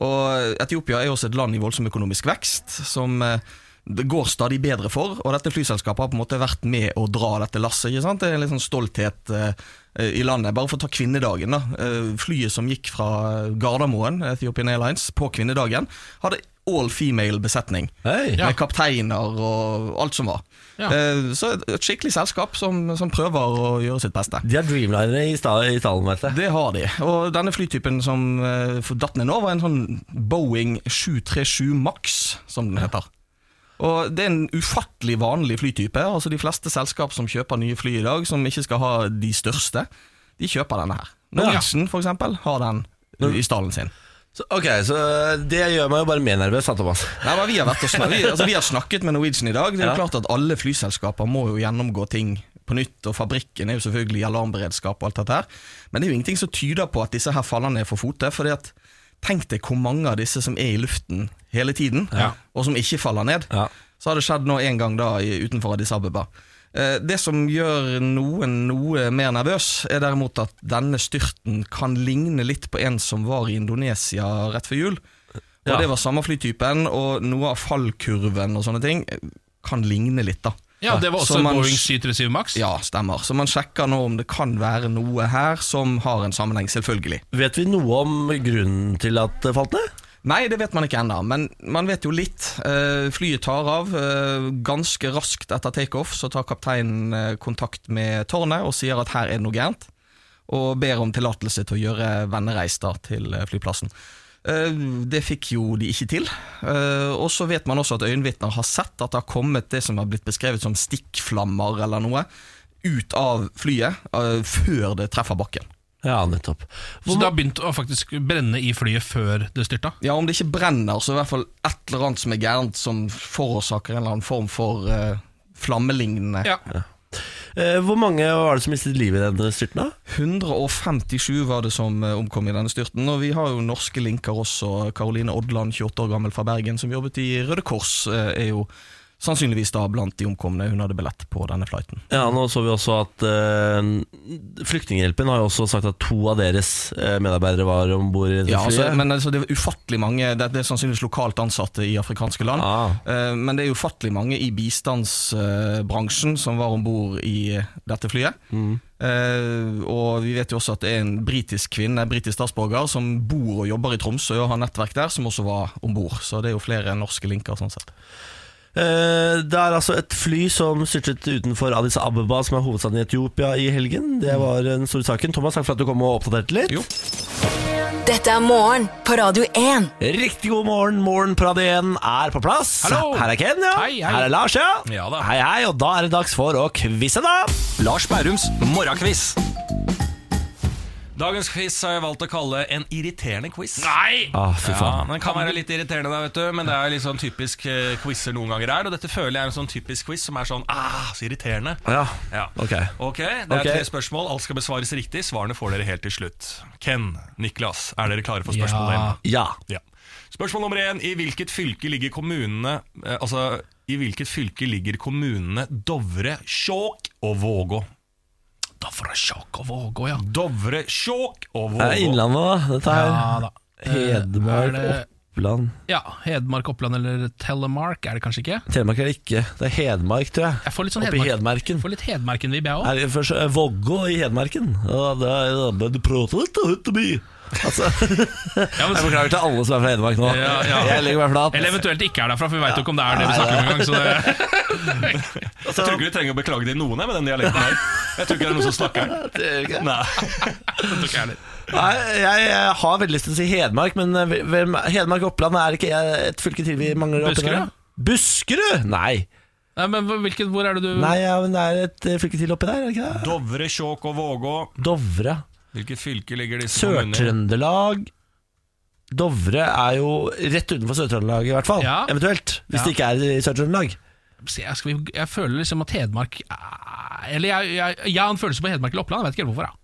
Speaker 6: Og eh, Etiopia er jo også et land i voldsom økonomisk vekst, som eh, det går stadig bedre for. Og dette flyselskapet har på en måte vært med å dra dette lasset. ikke sant? Det er en litt sånn stolthet eh, i landet. Bare for å ta kvinnedagen, da. Eh, Flyet som gikk fra Gardermoen, Ethiopian Airlines, på kvinnedagen, hadde all female besetning.
Speaker 1: Hei.
Speaker 2: Ja.
Speaker 6: Med kapteiner og alt som var.
Speaker 2: Ja.
Speaker 6: Eh, Så et, et skikkelig selskap som, som prøver å gjøre sitt beste.
Speaker 1: De har Dreamlinere i, sta i stallen, vet jeg.
Speaker 6: Det har de. Og denne flytypen som eh, for datt ned nå, var en sånn Boeing 737 Max, som den heter. Og Det er en ufattelig vanlig flytype. Altså De fleste selskap som kjøper nye fly i dag, som ikke skal ha de største, de kjøper denne her. Norwegian, for eksempel, har den i stallen sin.
Speaker 1: Så, ok, så eh, det gjør meg jo bare mer nervøs, da, Thomas.
Speaker 6: Nei, men vi, har vært og snak- vi, altså, vi har snakket med Norwegian i dag. Det er jo klart at Alle flyselskaper må jo gjennomgå ting på nytt. og Fabrikken er jo selvfølgelig i alarmberedskap, og alt dette her men det er jo ingenting som tyder på at disse her faller ned for fote. fordi at Tenk deg hvor mange av disse som er i luften hele tiden, og som ikke faller ned.
Speaker 1: Ja.
Speaker 6: Så har det skjedd nå en gang da i- utenfor Addis Abeba. Eh, Det som gjør noen noe mer nervøs, er derimot at denne styrten kan ligne litt på en som var i Indonesia rett før jul. Og
Speaker 1: Ja.
Speaker 6: Det var samme flytypen, og noe av fallkurven og sånne ting eh, kan ligne litt, da.
Speaker 2: Ja, det var også
Speaker 6: Så
Speaker 2: en
Speaker 6: man-
Speaker 2: Boeing 737 Max.
Speaker 6: Ja, stemmer. Så man sjekker nå om det kan være noe her som har en sammenheng, selvfølgelig.
Speaker 1: Vet vi noe om grunnen til at det falt ned?
Speaker 6: Nei, det vet man ikke ennå, men man vet jo litt. Eh, flyet tar av. eh, ganske raskt etter takeoff så tar kapteinen eh, kontakt med tårnet og sier at her er det noe gærent, og ber om tillatelse til å gjøre vennereis da til eh, flyplassen. Eh, det fikk jo de ikke til. Eh, og så vet man også at øyenvitner har sett at det har kommet det som har blitt beskrevet som stikkflammer eller noe, ut av flyet eh, før det treffer bakken.
Speaker 1: Ja, nettopp.
Speaker 2: Så det har begynt å faktisk brenne i flyet før det styrta?
Speaker 6: Ja, om det ikke brenner, så i hvert fall et eller annet som er gærent, som forårsaker en eller annen form for eh, flammelignende.
Speaker 2: Ja.
Speaker 1: Eh, Hvor mange var det som mistet livet i denne styrten? da?
Speaker 6: 157 var det som eh, omkom i denne styrten, og vi har jo norske linker også. Karoline Odland, 28 år gammel fra Bergen, som jobbet i Røde Kors, eh, er jo sannsynligvis da blant de omkomne. Hun hadde billett på denne flighten.
Speaker 1: Ja, nå så vi også at eh, Flyktninghjelpen har jo også sagt at to av deres eh, medarbeidere var om bord i dette
Speaker 6: Ja, altså,
Speaker 1: flyet.
Speaker 6: men altså, det er ufattelig mange det, det er sannsynligvis lokalt ansatte i afrikanske land.
Speaker 1: Ah.
Speaker 6: Eh, Men det er ufattelig mange i bistandsbransjen eh, som var om bord i dette flyet. Eh, og vi vet jo også at det er en britisk kvinne, en britisk statsborger, som bor og jobber i Tromsø og har nettverk der, som også var om bord. Så det er jo flere norske linker sånn sett.
Speaker 1: Eh, det er altså et fly som styrtet utenfor Addis Abeba, som er hovedstaden i Etiopia, i helgen. Det var den store saken. Thomas, takk for at du kom og oppdaterte litt.
Speaker 6: Jo.
Speaker 3: Dette er morgen på Radio 1.
Speaker 1: Riktig god morgen. Morgen på Radio 1 er på plass.
Speaker 2: Hallo.
Speaker 1: Her er Ken, ja.
Speaker 2: Hei, hei.
Speaker 1: Her er Lars, ja.
Speaker 2: Ja da.
Speaker 1: Hei, hei. Og da er det dags for å quize, da.
Speaker 7: Lars Bærums morgenkviss. Dagens quiz har jeg valgt å kalle en irriterende quiz.
Speaker 2: Nei!
Speaker 1: Ah, fy
Speaker 7: Ja,
Speaker 1: faen.
Speaker 7: den kan være litt irriterende, da, vet du men det er litt sånn typisk eh, quizer noen ganger er. Og dette føler jeg er en sånn typisk quiz som er sånn ah, så irriterende.
Speaker 1: Ja.
Speaker 7: Ja.
Speaker 1: Ok.
Speaker 7: ok, Det er
Speaker 1: Ok.
Speaker 7: tre spørsmål. Alt skal besvares riktig. Svarene får dere helt til slutt. Ken, Niklas, er dere klare for spørsmål
Speaker 2: Ja.
Speaker 7: én?
Speaker 1: Ja.
Speaker 7: Ja. Spørsmål nummer én. I hvilket fylke ligger kommunene eh, Altså, i hvilket fylke ligger kommunene Dovre, Skjåk og Vågå?
Speaker 2: Da får jeg sjokk og vågå, ja.
Speaker 7: Dovre, Skjåk og
Speaker 1: Det
Speaker 7: Vågå.
Speaker 1: er Innlandet, da. Dette er
Speaker 2: Ja da. Eh, Er
Speaker 1: Eh, Hedmark,
Speaker 2: det-
Speaker 1: Oppland
Speaker 2: Ja, Hedmark, Oppland eller Telemark er det kanskje ikke?
Speaker 1: Telemark er det ikke. Det er Hedmark, tror jeg.
Speaker 2: Jeg får litt sånn
Speaker 1: Oppe i
Speaker 2: Hedmark.
Speaker 1: Hedmarken.
Speaker 2: Får litt Hedmarken-vibb, jeg òg.
Speaker 1: Er det først eh, Vågå i Hedmarken? Ja, det er- ja, Men du prater litt høyt og mye. Altså,
Speaker 2: Ja, men-
Speaker 5: Jeg beklager til alle som er fra Hedmark nå.
Speaker 2: Ja, ja.
Speaker 5: Jeg legger meg flat.
Speaker 2: Eller eventuelt ikke er derfra, for vi veit jo ikke om det er det vi snakker om engang. Så det,
Speaker 7: Jeg tror ikke du trenger å beklage til noen jeg, med den dialekten her. Jeg tror ikke det er noen som snakker den. Nei.
Speaker 2: det tror ikke jeg heller.
Speaker 1: nei, jeg, jeg har veldig lyst til å si Hedmark, men eh, hvem, Hedmark og Oppland er ikke et fylke til vi mangler oppi
Speaker 2: Buskerud?
Speaker 1: der. Buskerud? Nei.
Speaker 2: Nei, men hva- hvilket, hvor er det du
Speaker 1: Nei, ja, men det er et eh, fylke til oppi der, er det ikke det?
Speaker 7: Dovre, Skjåk og Vågå.
Speaker 1: Dovre.
Speaker 7: Hvilket fylke ligger disse kommunene i?
Speaker 1: Sør-Trøndelag. Dovre er jo rett utenfor Sør-Trøndelag, i hvert fall.
Speaker 2: Ja.
Speaker 1: Eventuelt. Hvis
Speaker 2: Ja.
Speaker 1: det ikke er i Sør-Trøndelag.
Speaker 2: Se, jeg, skal, jeg føler liksom at Hedmark er- Eller jeg, jeg, jeg har en følelse på Hedmark eller Oppland, jeg vet ikke helt hvorfor. da.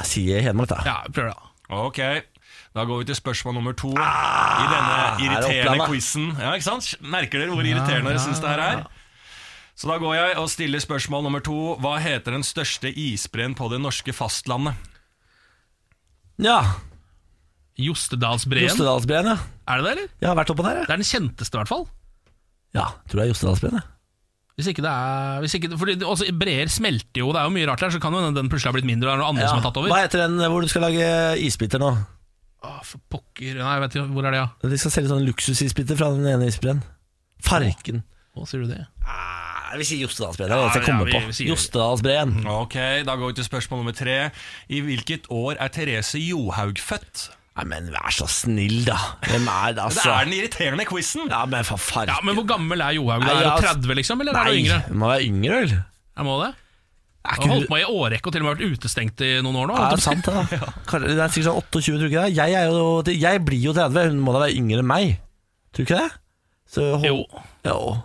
Speaker 1: Jeg sier Hedmark, da.
Speaker 2: Ja, vi prøver det da
Speaker 7: Ok, da går vi til spørsmål nummer to
Speaker 1: Ah,
Speaker 7: i denne irriterende
Speaker 1: Oppland, da?
Speaker 7: quizen. Ja, ikke sant? Merker dere hvor irriterende dere syns det her er? Så da går jeg og stiller spørsmål nummer to. Hva heter den største isbreen på det norske fastlandet?
Speaker 1: Ja.
Speaker 2: Jostedalsbreen.
Speaker 1: Jostedalsbreen, ja.
Speaker 2: Er det det, eller?
Speaker 1: Jeg har vært oppå der, jeg.
Speaker 2: Det er den kjenteste, i hvert fall.
Speaker 1: Ja, tror det er Jostedalsbreen, jeg.
Speaker 2: Hvis ikke det er hvis ikke, Fordi det- også breer smelter jo, det er jo mye rart der, så kan jo hende den plutselig har blitt mindre, og det er noen andre
Speaker 1: Ja.
Speaker 2: som har tatt over.
Speaker 1: Hva heter den hvor du skal lage isbiter nå?
Speaker 2: Å, for pokker Nei, jeg vet ikke, hvor er det, ja?
Speaker 1: De skal selge sånne luksusisbiter fra den ene isbreen. Farken.
Speaker 2: Å, sier du det?
Speaker 1: Ah, vi sier Jostedalsbreen. Det er det eneste jeg
Speaker 2: Ja, ja,
Speaker 1: kommer
Speaker 2: vi- vi
Speaker 1: på.
Speaker 2: sier-
Speaker 1: Jostedalsbreen.
Speaker 7: Ok, Da går vi til spørsmål nummer tre. I hvilket år er Therese Johaug født?
Speaker 1: Nei, men vær så snill, da. Hvem er det,
Speaker 7: Det
Speaker 1: altså?
Speaker 7: er den irriterende quizen!
Speaker 1: Ja, men for farken.
Speaker 2: Ja, Men hvor gammel er Johaug? da?
Speaker 1: Nei,
Speaker 2: Er hun
Speaker 1: ja, altså-
Speaker 2: 30, liksom? Eller er hun
Speaker 1: Nei,
Speaker 2: yngre?
Speaker 1: hun må være yngre, vel?
Speaker 2: Jeg må det.
Speaker 1: Er
Speaker 2: Hun har holdt på i årrekke og til og med vært utestengt i noen år nå.
Speaker 1: Er det sant, da? Kar- Det er sikkert sånn 28, tror du ikke det? Jeg, er jo, jeg blir jo 30, hun må da være yngre enn meg. Tror du ikke det? Så, hold-
Speaker 2: Jo.
Speaker 1: Jo.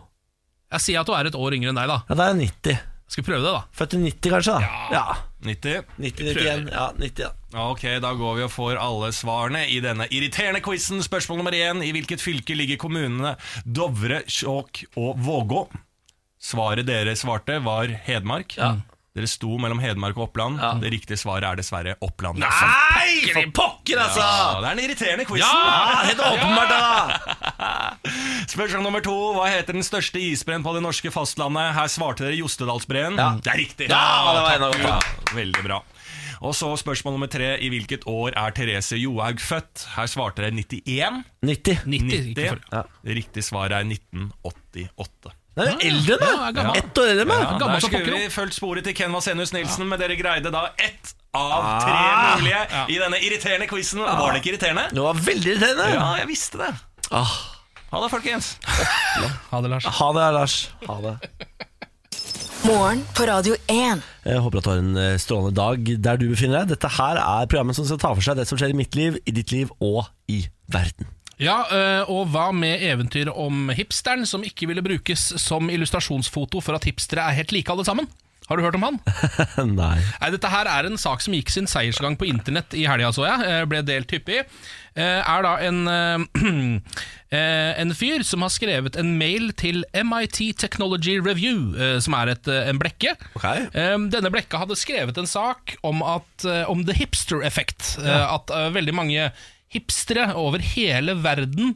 Speaker 2: Jeg sier at hun er et år yngre enn deg, da.
Speaker 1: Ja, da er jeg 90.
Speaker 2: Skal vi prøve det, da?
Speaker 1: Født i 90, kanskje? da? Ja.
Speaker 7: 90.
Speaker 1: 90, 91, ja, 90, ja.
Speaker 7: Ok, da går vi og får alle svarene i denne irriterende quizen. Spørsmål nummer én. I hvilket fylke ligger kommunene Dovre, Skjåk og Vågå? Svaret dere svarte, var Hedmark. Dere sto mellom Hedmark og Oppland. Det riktige svaret er dessverre Oppland. Nei,
Speaker 1: For pokker, altså!
Speaker 7: ja, Ah, det er den irriterende quizen!
Speaker 1: Ja, helt åpenbart, da!
Speaker 7: Spørsmål nummer to. Hva heter den største isbreen på det norske fastlandet? Her svarte dere Jostedalsbreen. Det er riktig!
Speaker 1: Ja,
Speaker 7: Ah,
Speaker 1: det var en av
Speaker 7: takk
Speaker 1: dem, ja.
Speaker 7: Gud. Veldig bra. Og så spørsmål nummer tre. I hvilket år er Therese Johaug født? Her svarte dere 91.
Speaker 1: 90.
Speaker 2: 90? Ikke
Speaker 7: 90.
Speaker 2: for...
Speaker 1: Ja.
Speaker 7: Det riktige svaret er 1988.
Speaker 1: Nei, hun er eldre enn
Speaker 2: Ja, hun er
Speaker 1: meg!
Speaker 2: gammel.
Speaker 1: Ett år eldre enn meg!
Speaker 2: Ja. gammel
Speaker 7: der
Speaker 2: som
Speaker 7: skulle
Speaker 2: pokker,
Speaker 7: vi
Speaker 2: jo.
Speaker 7: fulgt sporet til Ken Vasenus Nilsen, men dere greide da ett av tre
Speaker 1: Ah.
Speaker 7: mulige i denne irriterende quizen. Var det ikke irriterende?
Speaker 1: Hun var veldig irriterende!
Speaker 7: Ja, jeg visste det.
Speaker 1: Ah.
Speaker 7: Ha det, folkens.
Speaker 2: Ha det, Lars.
Speaker 1: Ha det, Lars. Ha det.
Speaker 3: Morgen på Radio 1.
Speaker 1: Jeg håper at du har en eh, strålende dag der du befinner deg. Dette her er programmet som skal ta for seg det som skjer i mitt liv, i ditt liv og i verden.
Speaker 2: Ja, øh, og hva med eventyret om hipsteren som ikke ville brukes som illustrasjonsfoto for at hipstere er helt like alle sammen? Har du hørt om han?
Speaker 1: Nei.
Speaker 2: Nei, Dette her er en sak som gikk sin seiersgang på internett i helga, så jeg. Eh, Ble delt hyppig. Eh, Er da en, eh, eh, en fyr som har skrevet en mail til MIT Technology Review, eh, som er et, eh, en blekke.
Speaker 1: Ok.
Speaker 2: Eh, Denne blekka hadde skrevet en sak om, at, eh, om the hipster effect. eh, At eh, veldig mange hipstere over hele verden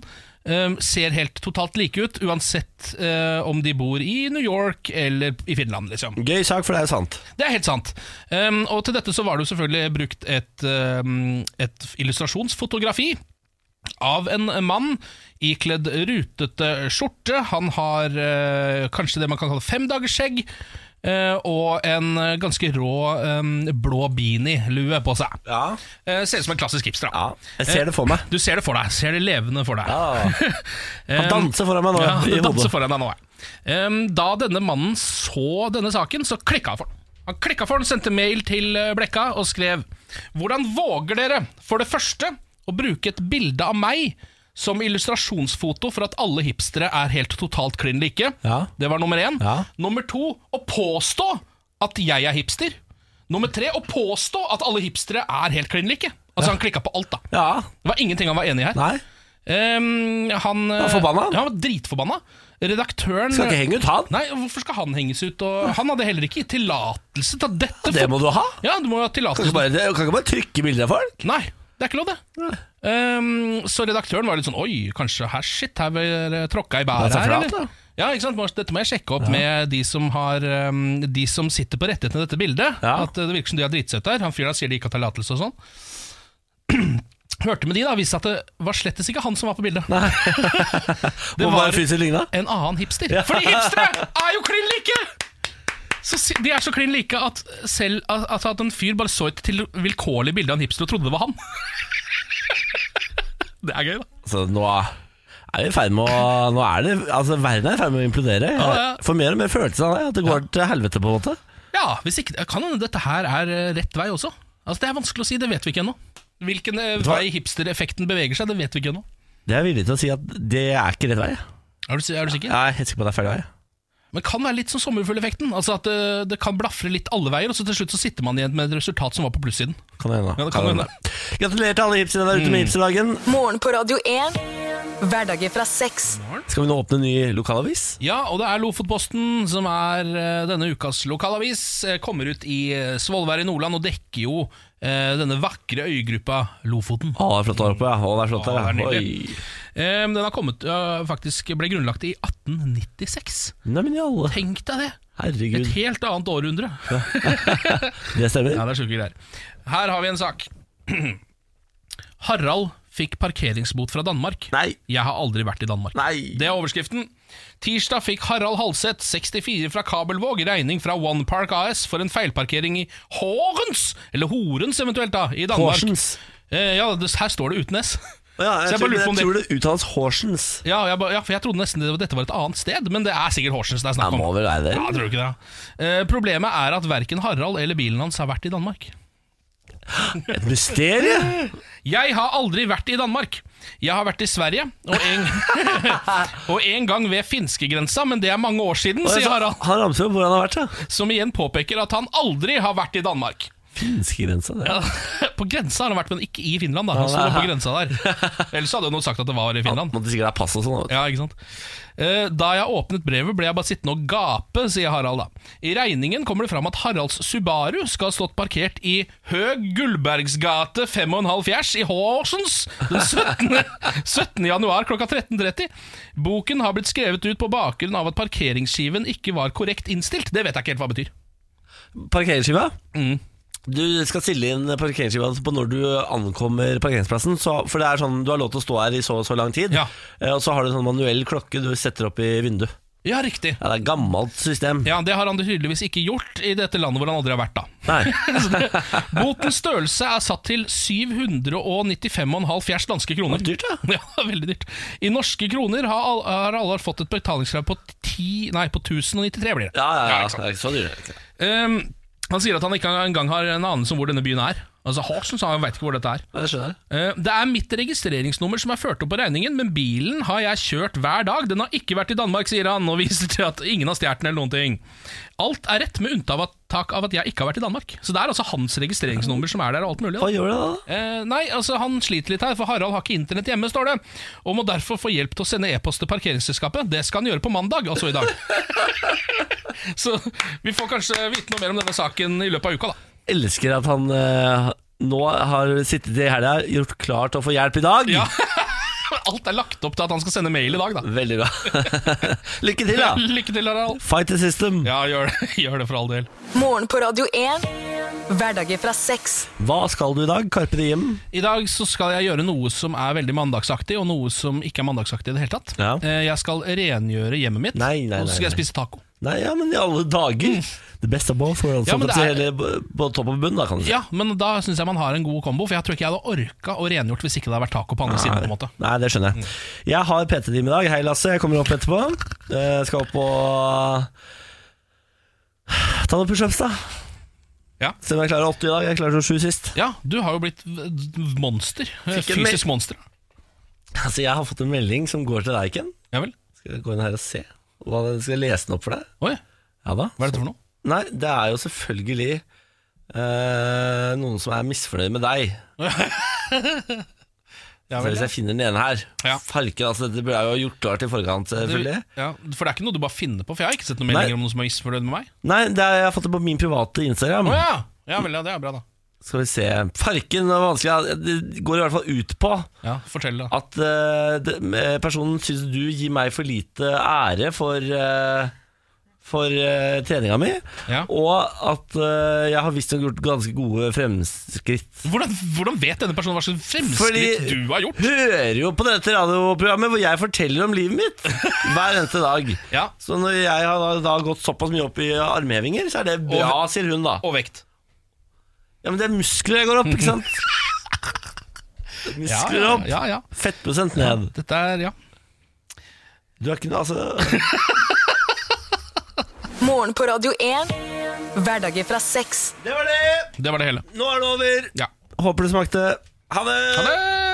Speaker 2: eh, ser helt totalt like ut, uansett eh, om de bor i New York eller i Finland, liksom.
Speaker 1: Gøy sak, for det er jo sant.
Speaker 2: Det er helt sant. Um, og til dette så var det jo selvfølgelig brukt et, um, et illustrasjonsfotografi av en mann ikledd rutete skjorte. Han har eh, kanskje det man kan kalle femdagersskjegg. eh, og en eh, ganske rå eh, blå beanie-lue på seg.
Speaker 1: Ja.
Speaker 2: Eh, ser ut som en klassisk hipster. da.
Speaker 1: Jeg ser det for meg.
Speaker 2: Du ser det for deg. Ser det levende for deg.
Speaker 1: Han danser foran meg nå
Speaker 2: Eh, Ja,
Speaker 1: i
Speaker 2: det danser
Speaker 1: hodet.
Speaker 2: foran deg nå, ja. Ehm, da denne mannen så denne saken, så klikka han for den. Han klikka for den, sendte mail til eh, Blekka og skrev Hvordan våger dere, for det første, å bruke et bilde av meg som illustrasjonsfoto for at alle hipstere er helt totalt klin like?
Speaker 1: Ja.
Speaker 2: Det var nummer én.
Speaker 1: Ja.
Speaker 2: Nummer to, å påstå at jeg er hipster. Nummer tre, å påstå at alle hipstere er helt klin like. Altså, han klikka på alt, da.
Speaker 1: Ja.
Speaker 2: Det var ingenting han var enig i her.
Speaker 1: Nei.
Speaker 2: Ehm, han
Speaker 1: var forbanna?
Speaker 2: Ja, han var dritforbanna. Redaktøren
Speaker 1: Skal ikke henge ut han.
Speaker 2: Nei, Hvorfor skal han henges ut? Og han hadde heller ikke gitt tillatelse til at dette
Speaker 1: Det må du ha.
Speaker 2: Ja, du må jo ha
Speaker 1: Kan
Speaker 2: tillatelse
Speaker 1: ikke bare, kan ikke bare trykke bilder av folk.
Speaker 2: Nei, det er ikke lov, det. Ehm, så redaktøren var litt sånn Oi, kanskje her shit, her blir det tråkka i bæret
Speaker 1: Det er
Speaker 2: her,
Speaker 1: flaut,
Speaker 2: eller?
Speaker 1: da.
Speaker 2: Ja, ikke sant? Må- Dette må jeg sjekke opp med de som, har, ehm, de som sitter på rettighetene til dette bildet.
Speaker 1: Ja.
Speaker 2: At eh, det virker som de har dritsøtt der. Han fyren der sier de ikke har tillatelse og sånn. hørte med de, da, viste at det var slettes ikke han som var på bildet.
Speaker 1: Det
Speaker 2: var-
Speaker 1: var fysisk ligna?
Speaker 2: En annen hipster. Fordi hipstere er jo klin like! Så si- de er så klin like at selv altså at en fyr bare så et til vilkårlig bilde av en hipster og trodde det var han. Det er gøy, da.
Speaker 1: Så Altså, nå er vi i ferd med å Nå er det Altså, verden er i ferd med å implodere.
Speaker 2: Ja, ja.
Speaker 1: Jeg får mer og mer følelsen av det. At det går til helvete, på en måte.
Speaker 2: Ja, hvis ikke, det Kan hende dette her er eh, rett vei også. Altså Det er vanskelig å si, det vet vi ikke ennå. Hvilken eh,
Speaker 1: hva?
Speaker 2: vei hipstereffekten beveger seg, det vet vi ikke ennå.
Speaker 1: Det er jeg villig til å si at det er ikke rett vei.
Speaker 2: Er, du si- er du sikker?
Speaker 1: Jeg er helt sikker på at det er feil vei.
Speaker 2: Men kan være litt som sommerfugleffekten. Altså at eh, det kan blafre litt alle veier, og så til slutt så sitter man igjen med et resultat som var på plussiden.
Speaker 1: Kan det hende.
Speaker 2: Ja, det kan hende. Mm.
Speaker 1: Gratulerer til alle hipsterne der ute med hipsterdagen.
Speaker 3: Morgen på Radio 1. Hverdager fra seks.
Speaker 1: Skal vi nå åpne en ny lokalavis?
Speaker 2: Ja, og det er Lofotposten som er eh, denne ukas lokalavis. eh, Kommer ut i eh, Svolvær i Nordland og dekker jo eh, denne vakre øygruppa Lofoten.
Speaker 1: Å, det er flott der oppe, ja. Å, det er flott
Speaker 2: Å, det er
Speaker 1: der, ja.
Speaker 2: nydelig.
Speaker 1: Oi.
Speaker 2: Eh, Den har kommet, eh, faktisk ble grunnlagt i 1896.
Speaker 1: Nei, men i alle
Speaker 2: Tenk deg det! Et
Speaker 1: Herregud,
Speaker 2: helt annet århundre.
Speaker 1: det
Speaker 2: Ja,
Speaker 1: stemmer.
Speaker 2: det er sjuke greier. Her har vi en sak. Harald fikk parkeringsbot fra Danmark.
Speaker 1: Nei.
Speaker 2: Jeg har aldri vært i Danmark.
Speaker 1: Nei.
Speaker 2: Det er overskriften. Tirsdag fikk Harald Halseth, 64 fra Kabelvåg, regning fra One Park AS for en feilparkering i Horens, eller Horens eventuelt, da, i Danmark.
Speaker 1: Horsens.
Speaker 2: Eh, ja, det, her står det uten S.
Speaker 1: Å Ja, jeg,
Speaker 2: Så jeg bare
Speaker 1: tror,
Speaker 2: lurer på
Speaker 1: jeg
Speaker 2: om det-
Speaker 1: tror det uttales Horsens.
Speaker 2: Ja, jeg, ba- ja, for jeg trodde nesten det, dette var et annet sted, men det er sikkert Horsens det er
Speaker 1: Det
Speaker 2: snakk om.
Speaker 1: må vel være det.
Speaker 2: Ja, tror du ikke det? Eh, problemet er at verken Harald eller bilen hans har vært i Danmark.
Speaker 1: Et mysterium!
Speaker 2: Jeg har aldri vært i Danmark. Jeg har vært i Sverige, og en, og en gang ved finskegrensa, men det er mange år siden, sier
Speaker 1: Altså,
Speaker 2: Harald,
Speaker 1: Han ramser opp hvor han har vært, ja.
Speaker 2: som igjen påpeker at han aldri har vært i Danmark.
Speaker 1: Finskegrensa, det.
Speaker 2: På grensa har han vært, men ikke i Finland. da Han sto på grensa der. Ellers hadde han jo sagt at det var i Finland.
Speaker 1: Måtte sikkert ha pass og sånn. vet du.
Speaker 2: Ja, ikke sant? Eh, Da jeg åpnet brevet, ble jeg bare sittende og gape, sier Harald. da. I regningen kommer det fram at Haralds Subaru skal ha stått parkert i Høg Gullbergsgate 5,5 fjers i Horsens den 17. 17. januar klokka 13.30. Boken har blitt skrevet ut på bakgrunn av at parkeringsskiven ikke var korrekt innstilt. Det vet jeg ikke helt hva betyr.
Speaker 1: Parkeringsskiva?
Speaker 2: Mm.
Speaker 1: Du skal stille inn parkeringsskiva på når du ankommer parkeringsplassen. Så, for det er sånn, Du har lov til å stå her i så og så lang tid,
Speaker 2: Ja.
Speaker 1: Eh, og så har du en sånn manuell klokke du setter opp i vinduet.
Speaker 2: Ja, riktig.
Speaker 1: Ja, Det er et gammelt system.
Speaker 2: Ja, Det har han tydeligvis ikke gjort i dette landet hvor han aldri har vært, da.
Speaker 1: Nei.
Speaker 2: Botens størrelse er satt til 795,5 fjers danske kroner.
Speaker 1: dyrt, ja.
Speaker 2: Ja, det er veldig dyrt. I norske kroner har all- har alle fått et betalingskrav på, 10, nei, på 1093, blir det.
Speaker 1: Ja, ja, ja.
Speaker 2: ikke sant.
Speaker 1: Det er ikke så dyrt.
Speaker 2: Ehm, han sier at han ikke engang har en anelse om hvor denne byen er. Altså Horsens, han vet ikke hvor dette er.
Speaker 1: Ja, det skjønner jeg.
Speaker 2: Eh, Det er mitt registreringsnummer som er ført opp på regningen, men bilen har jeg kjørt hver dag. Den har ikke vært i Danmark, sier han, og viser til at ingen har stjålet den eller noen ting. Alt er rett, med unntak av at jeg ikke har vært i Danmark. Så det er altså hans registreringsnummer som er der, og alt mulig. da.
Speaker 1: Hva gjør du da?
Speaker 2: Eh, nei, altså han sliter litt her, for Harald har ikke internett hjemme, står det. Og må derfor få hjelp til å sende e-post til parkeringsselskapet. Det skal han gjøre på mandag, altså i dag. Så vi får kanskje vite noe mer om denne saken i løpet av uka, da.
Speaker 1: Elsker at han eh, nå har sittet i helga, gjort klar til å få hjelp i dag.
Speaker 2: Ja. Alt er lagt opp til at han skal sende mail i dag, da.
Speaker 1: Veldig bra. Lykke til, da.
Speaker 2: Lykke til, Harald.
Speaker 1: Fight the system.
Speaker 2: Ja, gjør det, gjør det for all del.
Speaker 3: Morgen på Radio 1. Hverdager fra seks.
Speaker 1: Hva skal du i dag? Carpe Diem?
Speaker 2: I dag så skal jeg gjøre noe som er veldig mandagsaktig, og noe som ikke er mandagsaktig i det hele tatt.
Speaker 1: Ja.
Speaker 2: Eh, Jeg skal rengjøre hjemmet mitt,
Speaker 1: Nei, nei,
Speaker 2: og så
Speaker 1: nei,
Speaker 2: skal
Speaker 1: nei.
Speaker 2: jeg spise taco.
Speaker 1: Nei, ja, men i alle dager. The best of both worlds.
Speaker 2: Mm. Ja, men
Speaker 1: holdt jeg
Speaker 2: det er-
Speaker 1: på å si, hele b- Både topp og bunn, da, kan du si.
Speaker 2: Ja, men da syns jeg man har en god kombo, for jeg tror ikke jeg hadde orka å rengjort hvis ikke det hadde vært taco på andre siden. på en måte Mm.
Speaker 1: Nei, det skjønner jeg. Jeg har PT-time i dag. Hei, Lasse. Jeg kommer opp etterpå. Jeg skal opp og Ta noen pushups, da.
Speaker 2: Ja.
Speaker 1: Se om jeg klarer åtte i dag. Jeg klarte sju sist.
Speaker 2: Ja, du har jo blitt v- monster. eh,
Speaker 1: Fikk en
Speaker 2: Fysisk monster.
Speaker 1: Altså, Jeg har fått en melding som går til deg, Ken.
Speaker 2: Ja vel.
Speaker 1: Skal jeg gå inn her og se? Hva, skal jeg lese den opp for deg?
Speaker 2: Oi,
Speaker 1: Ja da.
Speaker 2: hva er dette for noe?
Speaker 1: Nei, det er jo selvfølgelig eh, noen som er misfornøyd med deg. Så hvis jeg finner den ene her
Speaker 2: Ja.
Speaker 1: Farken, altså Dette burde jeg jo ha gjort klart i forkant, eh, selvfølgelig.
Speaker 2: Du- ja, for det er ikke noe du bare finner på, for jeg har ikke sett noen
Speaker 1: Nei.
Speaker 2: meldinger om noen som er misfornøyd med meg.
Speaker 1: Nei, det er, jeg har fått det på min private Instagram.
Speaker 2: Å ja. ja vel, ja, det er bra, da.
Speaker 1: Skal vi se Farken er vanskelig. Det går i hvert fall ut på
Speaker 2: Ja, Fortell, da.
Speaker 1: at eh, det, eh, personen syns du gir meg for lite ære for eh, for eh, treninga mi,
Speaker 2: Ja.
Speaker 1: og at eh, jeg har visstnok gjort ganske gode fremskritt.
Speaker 2: Hvordan, hvordan vet denne personen hva slags fremskritt
Speaker 1: Fordi-
Speaker 2: du har gjort?
Speaker 1: Hører jo på dette radioprogrammet hvor jeg forteller om livet mitt hver eneste dag.
Speaker 2: Ja.
Speaker 1: Så når jeg har da, da gått såpass mye opp i armhevinger, så er det bra, sier hun da.
Speaker 2: Og vekt.
Speaker 1: Ja, men det er muskler jeg går opp, ikke sant?
Speaker 2: Ja,
Speaker 1: Muskler
Speaker 2: ja,
Speaker 1: opp,
Speaker 2: ja, ja.
Speaker 1: fettprosent ned.
Speaker 2: Dette er ja.
Speaker 1: Du er ikke noe, altså
Speaker 3: Morgen på Radio 1. Hverdager fra seks.
Speaker 1: Det var det!
Speaker 2: Det var det hele.
Speaker 1: Nå er det over.
Speaker 2: Ja.
Speaker 1: Håper det smakte. Ha det!
Speaker 2: Ha det!